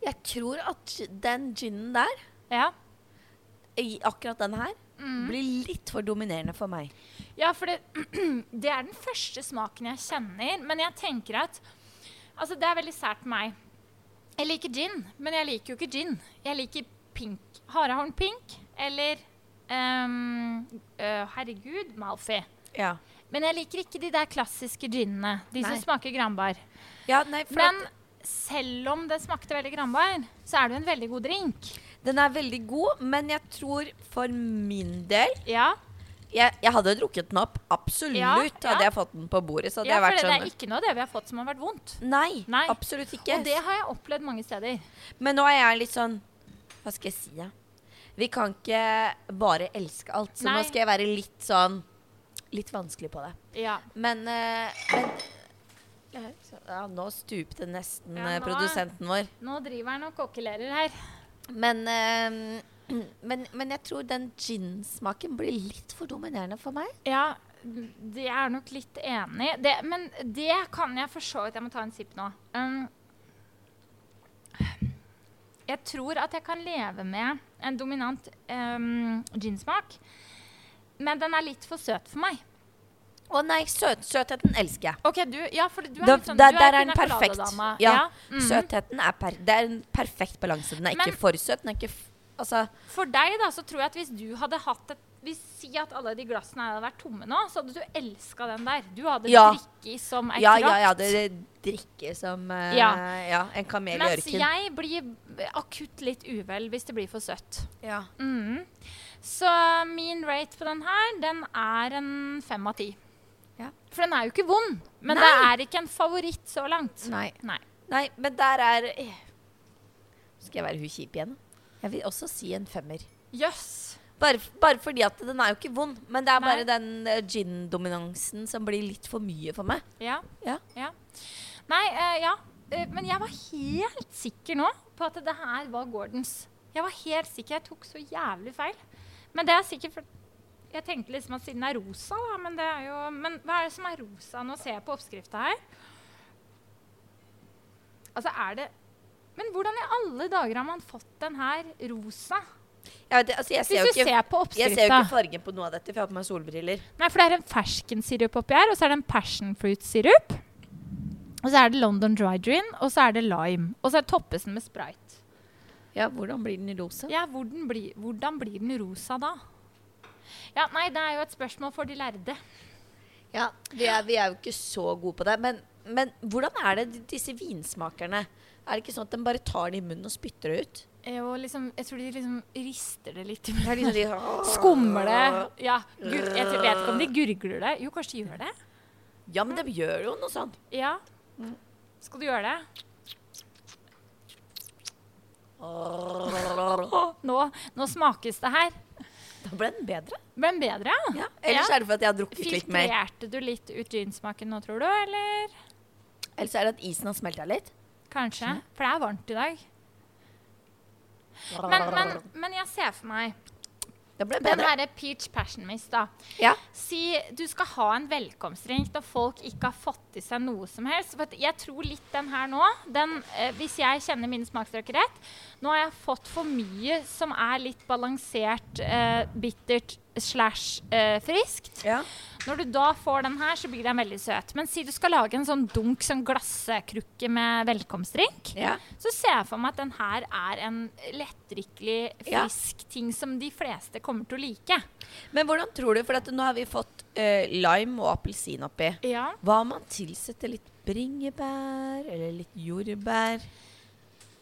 Speaker 4: Jeg tror at den ginen der,
Speaker 3: ja.
Speaker 4: i akkurat den her,
Speaker 3: Mm.
Speaker 4: blir litt for dominerende for meg.
Speaker 3: Ja, for det, det er den første smaken jeg kjenner. Men jeg tenker at Altså, det er veldig sært med meg. Jeg liker gin, men jeg liker jo ikke gin. Jeg liker pink. Harehorn pink eller ehm, øh, Herregud, Malfi.
Speaker 4: Ja,
Speaker 3: Men jeg liker ikke de der klassiske ginene. De
Speaker 4: Nei.
Speaker 3: som smaker granbar.
Speaker 4: nei, for
Speaker 3: Men selv om det smakte veldig granbar, så er det jo en veldig god drink.
Speaker 4: at Den er veldig god, men jeg tror for min del
Speaker 3: Ja,
Speaker 4: Jeg, jeg hadde drukket den opp, absolutt.
Speaker 3: Ja, ja.
Speaker 4: Hadde jeg fått den på bordet, så hadde
Speaker 3: ja
Speaker 4: jeg
Speaker 3: for
Speaker 4: vært
Speaker 3: det, det er
Speaker 4: sånn
Speaker 3: ikke noe av det vi har fått som har vært vondt.
Speaker 4: nei,
Speaker 3: Nei.
Speaker 4: absolutt ikke.
Speaker 3: Og det har jeg opplevd mange steder.
Speaker 4: Men nå er jeg litt sånn Hva skal jeg si, da? Vi kan ikke bare elske alt, så
Speaker 3: Nei.
Speaker 4: nå skal jeg være litt sånn Litt vanskelig på det.
Speaker 3: Ja.
Speaker 4: Men, eh, men ja, Nå stupte nesten
Speaker 3: Ja,
Speaker 4: eh,
Speaker 3: nå-
Speaker 4: produsenten vår.
Speaker 3: Nå driver han og kokkelerer her.
Speaker 4: Men, eh, men, men jeg tror den ginsmaken blir litt for dominerende for meg.
Speaker 3: Ja, det er nok litt enig. Det, men det kan jeg for så vidt Jeg må ta en sipp nå. Um, jeg tror at jeg kan leve med en dominant um, ginsmak, men den er litt for søt for meg.
Speaker 4: Å nei, søt, søtheten elsker jeg.
Speaker 3: OK, du Ja, for du er
Speaker 4: Da-
Speaker 3: litt sånn
Speaker 4: der-
Speaker 3: du
Speaker 4: der
Speaker 3: er
Speaker 4: er den perfekt.
Speaker 3: perfekt.
Speaker 4: Ja,
Speaker 3: mhm.
Speaker 4: Søtheten er per, det er en perfekt balanse. Den er
Speaker 3: Men-
Speaker 4: ikke for søt. Den er ikke f altså,
Speaker 3: For deg, da, så tror jeg at hvis du hadde hatt et hvis Si at alle de glassene her hadde vært tomme nå, så hadde du elska den der. Du hadde
Speaker 4: Ja.
Speaker 3: drikket som ei
Speaker 4: ja,
Speaker 3: krakk.
Speaker 4: ja, ja, det, det drikker som eh, ja.
Speaker 3: Ja.
Speaker 4: en kamel i
Speaker 3: Mens
Speaker 4: ørken.
Speaker 3: jeg blir akutt litt uvel hvis det blir for søtt.
Speaker 4: Ja.
Speaker 3: Mhm. Så min rate på den her, den er en fem av ti.
Speaker 4: Ja.
Speaker 3: For den er jo ikke vond, men det
Speaker 4: Nei.
Speaker 3: er ikke en favoritt så langt.
Speaker 4: Nei.
Speaker 3: Nei.
Speaker 4: Nei, men der er eh, Skal jeg være hun kjip igjen? Jeg vil også si en femmer.
Speaker 3: Jøss.
Speaker 4: Bare, f- bare fordi at den er jo ikke vond, men det er
Speaker 3: Nei.
Speaker 4: bare den eh, gin-dominansen som blir litt for mye for meg.
Speaker 3: Ja.
Speaker 4: Ja.
Speaker 3: Nei, eh, ja. Eh, men jeg var helt sikker nå på at det her var Gordons. Jeg var helt sikker. Jeg tok så jævlig feil. Men det er sikkert for Jeg tenkte liksom at siden det er rosa, da, men det er jo Men hva er det som er rosa? Nå ser jeg på oppskrifta her. Altså, er det Men hvordan i alle dager har man fått den her rosa?
Speaker 4: Jeg, vet, altså, jeg, ser,
Speaker 3: Hvis
Speaker 4: jo
Speaker 3: du
Speaker 4: ikke,
Speaker 3: ser på
Speaker 4: jeg ser jo
Speaker 3: oppskrifta
Speaker 4: ikke fargen på noe av dette, for jeg har på meg solbriller.
Speaker 3: Nei, for det er en ferskensirup oppi her, og så er det en passion fruit sirup. Og så er det London dry gin, og så er det lime. Og så er det toppes den med sprite.
Speaker 4: Ja, hvordan blir den i rosa?
Speaker 3: Ja, hvordan, blir- hvordan blir den rosa da? Ja, nei, det er jo et spørsmål for de lærde.
Speaker 4: Ja, vi er, vi er jo ikke så gode på det. Men, men hvordan er det d- disse vinsmakerne? Er det ikke sånn at de bare tar det i munnen og spytter det ut?
Speaker 3: Eh, Og liksom, jeg tror de liksom rister det litt.
Speaker 4: Det er liksom de-
Speaker 3: Skummer det. Ja, gur, jeg tror- vet ikke om de gurgler det. Jo, kanskje de gjør det.
Speaker 4: Ja, men de gjør jo noe sånt.
Speaker 3: Ja. Skal du gjøre det?
Speaker 4: Da
Speaker 3: Å, nå, nå smakes det her.
Speaker 4: ble den bedre.
Speaker 3: Ble den bedre?
Speaker 4: Ja. Ellers
Speaker 3: Ja.
Speaker 4: er det for at jeg har drukket litt mer.
Speaker 3: Filtrerte du litt ut ginsmaken nå, tror du? Eller
Speaker 4: Ellers er det at isen har smelta litt.
Speaker 3: kanskje?
Speaker 4: Hm.
Speaker 3: For det er varmt i dag. Men, men, men jeg ser for meg
Speaker 4: det ble
Speaker 3: den
Speaker 4: bedre.
Speaker 3: herre peach passion mist, da.
Speaker 4: Ja.
Speaker 3: Si du skal ha en velkomstdrink når folk ikke har fått i seg noe som helst. For at jeg tror litt den her nå den, eh, Hvis jeg kjenner mine smaksløker rett Nå har jeg fått for mye som er litt balansert, eh, bittert slash eh, friskt.
Speaker 4: Ja.
Speaker 3: Når du da får den her, så blir den veldig søt. Men si du skal lage en sånn dunk sånn glasskrukke med velkomstdrink,
Speaker 4: Ja.
Speaker 3: så ser jeg for meg at den her er en lettdrikkelig,
Speaker 4: Ja.
Speaker 3: frisk ting som de fleste kommer til å like.
Speaker 4: Men hvordan tror du, for at nå har vi fått eh, lime og appelsin oppi.
Speaker 3: Ja.
Speaker 4: Hva om man tilsetter litt bringebær eller litt jordbær?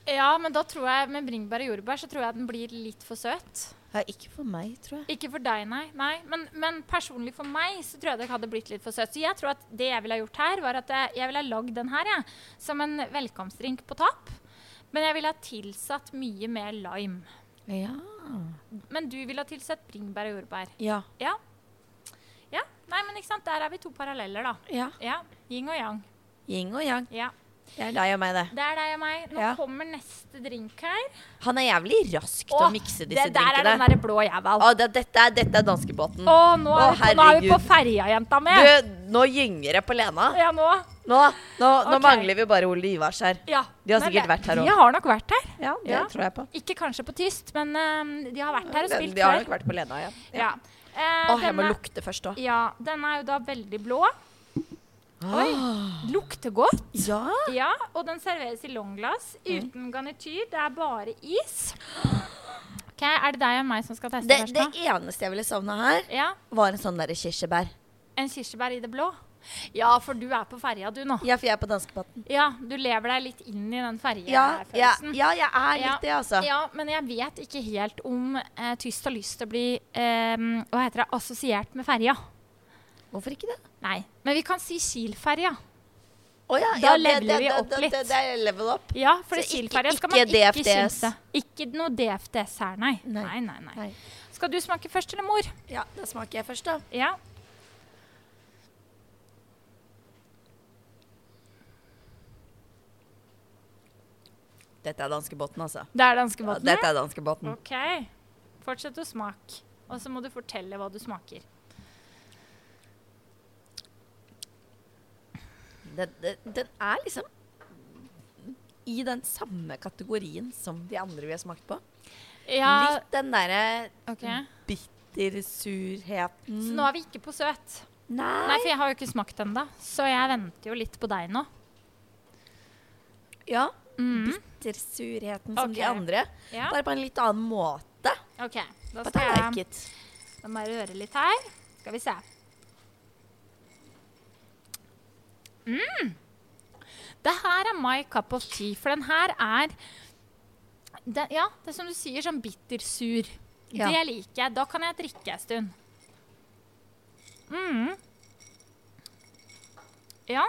Speaker 3: Ja, men da tror jeg med bringebær og jordbær så tror jeg den blir litt for søt.
Speaker 4: Ja, ikke for meg, tror jeg.
Speaker 3: Ikke for deg, nei. nei. Men, men personlig for meg så tror jeg det hadde blitt litt for søt. Så jeg tror at det jeg ville ha gjort her, var at jeg, jeg ville ha lagd den her jeg, som en velkomstdrink på tapp. Men jeg ville ha tilsatt mye mer lime.
Speaker 4: Ja.
Speaker 3: Men du ville ha tilsatt bringebær og jordbær.
Speaker 4: Ja.
Speaker 3: Ja. Ja, Nei, men ikke sant. Der er vi to paralleller, da.
Speaker 4: ja.
Speaker 3: Ja. Yin og yang.
Speaker 4: Yin og yang.
Speaker 3: Ja.
Speaker 4: Det er deg og meg, det.
Speaker 3: Det er deg og meg. Nå
Speaker 4: Ja.
Speaker 3: kommer neste drink her.
Speaker 4: Han er jævlig rask til å mikse disse
Speaker 3: det der er den
Speaker 4: drinkene.
Speaker 3: derre blå jævel.
Speaker 4: Å, det, dette, er, dette er danskebåten.
Speaker 3: Å, nå er,
Speaker 4: Å,
Speaker 3: vi på, nå er vi på
Speaker 4: herregud.
Speaker 3: ferja, jenta mi.
Speaker 4: Du, nå gynger det på Lena.
Speaker 3: Ja, nå.
Speaker 4: Nå, nå, nå
Speaker 3: Ok.
Speaker 4: mangler vi bare Ole Ivars her.
Speaker 3: Ja.
Speaker 4: De har
Speaker 3: Men
Speaker 4: sikkert
Speaker 3: det-
Speaker 4: vært her
Speaker 3: De
Speaker 4: også.
Speaker 3: har nok vært her.
Speaker 4: Ja, det
Speaker 3: Ja.
Speaker 4: tror jeg på.
Speaker 3: Ikke kanskje på tyst, men ehm, de har vært her og
Speaker 4: De
Speaker 3: spilt
Speaker 4: de har
Speaker 3: før.
Speaker 4: nok vært på Lena, ja.
Speaker 3: Ja. Eh,
Speaker 4: Å, jeg må
Speaker 3: denne-
Speaker 4: lukte først òg.
Speaker 3: ja, den er jo da veldig blå.
Speaker 4: Ah.
Speaker 3: Oi. Lukter godt.
Speaker 4: Ja.
Speaker 3: Ja, og den serveres i longglass uten garnityr. Det er bare is. Ok, Er det deg og meg som skal teste
Speaker 4: Det,
Speaker 3: først
Speaker 4: det
Speaker 3: nå?
Speaker 4: eneste jeg ville savna her,
Speaker 3: Ja,
Speaker 4: var en sånn derre kirsebær.
Speaker 3: En kirsebær i det blå? Ja, for du er på ferja du nå.
Speaker 4: Ja, for jeg er på danskebåten.
Speaker 3: Ja, du lever deg litt inn i den
Speaker 4: Ja, ja,
Speaker 3: ferjefølelsen.
Speaker 4: ja, jeg er
Speaker 3: Ja.
Speaker 4: litt det, altså.
Speaker 3: Ja, men jeg vet ikke helt om eh, tyst har lyst til å bli eh, hva heter det, assosiert med ferja.
Speaker 4: Hvorfor ikke det?
Speaker 3: Nei, men vi kan si Kiel-ferja.
Speaker 4: Å ja,
Speaker 3: Da
Speaker 4: ja, det-
Speaker 3: leveler
Speaker 4: det-
Speaker 3: vi
Speaker 4: det-
Speaker 3: opp
Speaker 4: det-
Speaker 3: litt.
Speaker 4: Det, det er level up.
Speaker 3: Ja, for
Speaker 4: Så
Speaker 3: det
Speaker 4: ikke-
Speaker 3: Kiel-ferja skal man
Speaker 4: ikke
Speaker 3: ikke
Speaker 4: DFDS.
Speaker 3: kimse. Ikke noe DFDS her, nei.
Speaker 4: Nei.
Speaker 3: Nei, nei, nei.
Speaker 4: Nei.
Speaker 3: Skal du smake først, eller mor?
Speaker 4: Ja, da smaker jeg først, da.
Speaker 3: Ja.
Speaker 4: Dette er danskebåten, altså.
Speaker 3: Det er
Speaker 4: Ja,
Speaker 3: danskebåten,
Speaker 4: dette er danskebåten.
Speaker 3: OK. Fortsett å smake. Og så må du fortelle hva du smaker.
Speaker 4: Den, den, den er liksom i den samme kategorien som de andre vi har smakt på.
Speaker 3: Ja,
Speaker 4: Litt den derre
Speaker 3: OK.
Speaker 4: bittersurheten
Speaker 3: Så nå er vi ikke på søt. Mm. Nei,
Speaker 4: Nei.
Speaker 3: for jeg har jo ikke smakt ennå, så jeg venter jo litt på deg nå.
Speaker 4: Ja.
Speaker 3: Mm.
Speaker 4: Bittersurheten som de
Speaker 3: Ok.
Speaker 4: andre.
Speaker 3: Ja.
Speaker 4: Bare på en litt annen måte.
Speaker 3: OK. Da
Speaker 4: But
Speaker 3: skal
Speaker 4: I
Speaker 3: jeg
Speaker 4: like it.
Speaker 3: Da må jeg røre litt her. Skal vi se. Mm. Mm. Det her er my cup of tea, for den her er den, Ja, det er som du sier, sånn bittersur.
Speaker 4: Ja.
Speaker 3: Det liker jeg. Da kan jeg drikke en stund. Mm. Ja.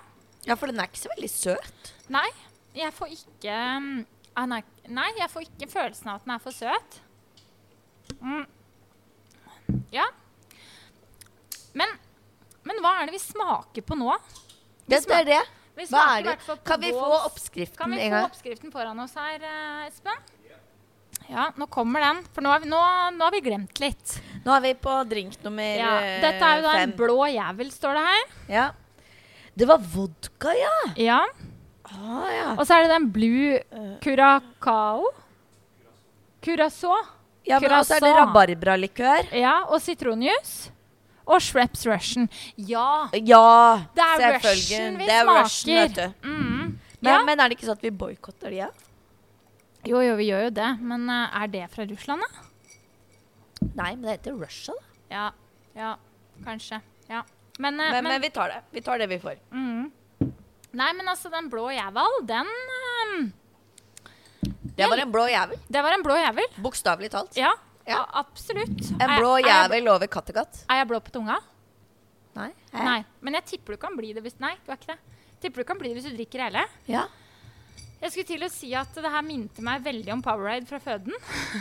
Speaker 4: Ja, for den er ikke så veldig søt.
Speaker 3: Nei, jeg får ikke mm, ah, nei, nei, jeg får ikke følelsen av at den er for søt. Mm. Ja. Men, men hva er det vi smaker på nå? Vi
Speaker 4: Det, det er det.
Speaker 3: Vi
Speaker 4: Hva
Speaker 3: smaker
Speaker 4: er
Speaker 3: i
Speaker 4: det?
Speaker 3: hvert fall på
Speaker 4: Kan vi få
Speaker 3: Våls- Kan
Speaker 4: oppskriften
Speaker 3: vi
Speaker 4: en
Speaker 3: få
Speaker 4: gang?
Speaker 3: oppskriften foran oss her, eh, Espen? Ja, nå kommer den. For nå har vi, nå, nå har vi glemt litt.
Speaker 4: Nå er vi på drink nummer
Speaker 3: Ja.
Speaker 4: eh,
Speaker 3: Dette er jo da en
Speaker 4: fem.
Speaker 3: blå jævel, står det her.
Speaker 4: Ja. Det var vodka, ja!
Speaker 3: Ja.
Speaker 4: Ah, ja.
Speaker 3: Og så er det den
Speaker 4: Eh.
Speaker 3: blue curacao. Curacao.
Speaker 4: ja men også er det
Speaker 3: Curaçao.
Speaker 4: rabarbralikør.
Speaker 3: Ja, og sitronjuice. Og Shreps Russian. Ja.
Speaker 4: Ja,
Speaker 3: Det er
Speaker 4: selvfølgelig.
Speaker 3: Russian vi
Speaker 4: det er
Speaker 3: smaker.
Speaker 4: Russian, vet du.
Speaker 3: Mm.
Speaker 4: Men,
Speaker 3: Ja.
Speaker 4: men er det ikke sånn at vi boikotter de, ja?
Speaker 3: Jo, jo, vi gjør jo det. Men eh, er det fra Russland, da?
Speaker 4: Nei, men det heter Russia, da.
Speaker 3: Ja. ja. Kanskje. Ja. Men, eh,
Speaker 4: Men,
Speaker 3: men, Mm.
Speaker 4: men vi tar det. Vi tar det vi får.
Speaker 3: Nei, men altså, den blå jævel, den eh,
Speaker 4: Det var en blå jævel.
Speaker 3: Det var en blå jævel.
Speaker 4: Bokstavelig talt.
Speaker 3: Ja.
Speaker 4: Ja.
Speaker 3: a- Absolutt.
Speaker 4: En
Speaker 3: Er-
Speaker 4: blå
Speaker 3: er jeg-
Speaker 4: jævel over Kattegat.
Speaker 3: Er jeg blå på tunga?
Speaker 4: Nei.
Speaker 3: Nei. Men jeg tipper du kan bli det hvis Nei, du er ikke det. Tipper du kan bli det hvis du drikker hele.
Speaker 4: Ja.
Speaker 3: Jeg skulle til å si at det her minte meg veldig om Powerade fra føden.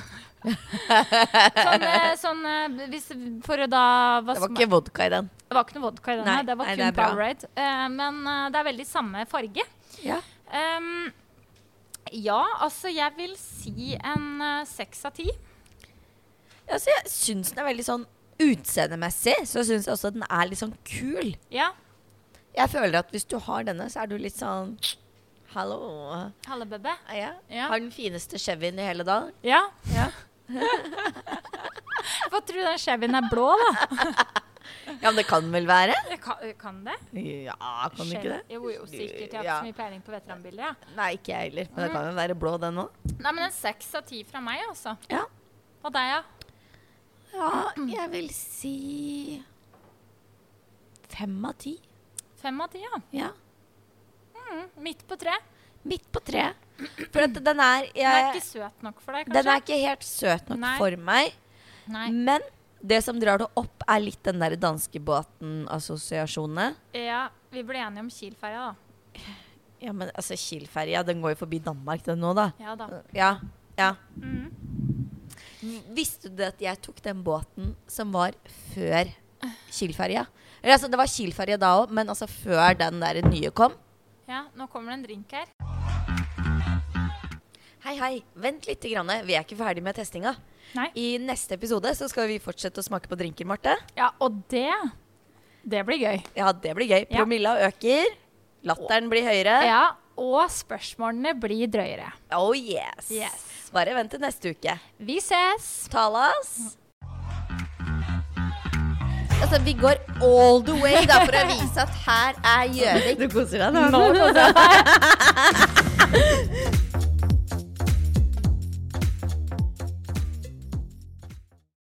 Speaker 3: sånn, eh, sånn eh, hvis, For å da hva
Speaker 4: Det var
Speaker 3: sma-
Speaker 4: ikke vodka i den.
Speaker 3: det var ikke noe vodka i denne,
Speaker 4: Nei,
Speaker 3: det var
Speaker 4: nei,
Speaker 3: kun
Speaker 4: det er bra.
Speaker 3: Powerade. Eh, men eh, det er veldig samme farge.
Speaker 4: Ja.
Speaker 3: Ehm, ja, altså jeg vil si en eh, seks av ti.
Speaker 4: Altså, jeg syns den er veldig sånn utseendemessig, så syns jeg også at den er litt sånn kul.
Speaker 3: Ja.
Speaker 4: Jeg føler at hvis du har denne, så er du litt sånn Hallo.
Speaker 3: Hallebebbe.
Speaker 4: Ja.
Speaker 3: Ja.
Speaker 4: Har den fineste Chevyen i hele dalen.
Speaker 3: Ja.
Speaker 4: Ja.
Speaker 3: Hva tror du den chevyen er blå, da?
Speaker 4: ja, men det kan vel være?
Speaker 3: Kan, Eh, kan det?
Speaker 4: Ja, kan det ikke
Speaker 3: Chevy-
Speaker 4: det?
Speaker 3: Jo, jo, sikkert. Jeg har ikke
Speaker 4: Ja.
Speaker 3: så mye peiling på veteranbiler, ja.
Speaker 4: Nei, ikke jeg heller. Men det kan jo være blå, den òg.
Speaker 3: Nei, men en seks av ti fra meg, altså.
Speaker 4: Ja.
Speaker 3: Og deg, ja.
Speaker 4: ja, jeg vil si Fem av ti.
Speaker 3: Fem av ti, ja.
Speaker 4: Ja.
Speaker 3: Mm, midt på tre.
Speaker 4: Midt på treet. For at den er jeg,
Speaker 3: Den er ikke søt nok for deg, kanskje?
Speaker 4: Den er ikke helt søt nok
Speaker 3: Nei.
Speaker 4: for meg.
Speaker 3: Nei.
Speaker 4: Men det som drar det opp, er litt den der danskebåten-assosiasjonene.
Speaker 3: Ja, vi ble enige om Kiel-ferja, da.
Speaker 4: Ja, men altså, Kiel-ferja, den går jo forbi Danmark, den nå, da.
Speaker 3: Ja da.
Speaker 4: Ja. ja.
Speaker 3: Mm.
Speaker 4: Visste du at jeg tok den båten som var før Kiel-ferja? Eller, Altså, det var Kiel-ferja da òg, men altså før den der nye kom.
Speaker 3: Ja, nå kommer det en drink her.
Speaker 4: Hei, hei. Vent litt. Grann. Vi er ikke ferdig med testinga.
Speaker 3: Nei.
Speaker 4: I neste episode så skal vi fortsette å smake på drinker, Marte.
Speaker 3: Ja, og det Det blir gøy.
Speaker 4: Ja, det blir gøy.
Speaker 3: Ja.
Speaker 4: Promilla øker. Latteren blir høyere.
Speaker 3: Ja, og spørsmålene blir drøyere.
Speaker 4: Oh yes.
Speaker 3: Yes.
Speaker 4: Bare vent til neste uke.
Speaker 3: Vi ses!
Speaker 4: Talas.
Speaker 1: Altså, vi går all the way da, for å vise at her er Gjøvik.
Speaker 4: Du koser deg
Speaker 3: Nå,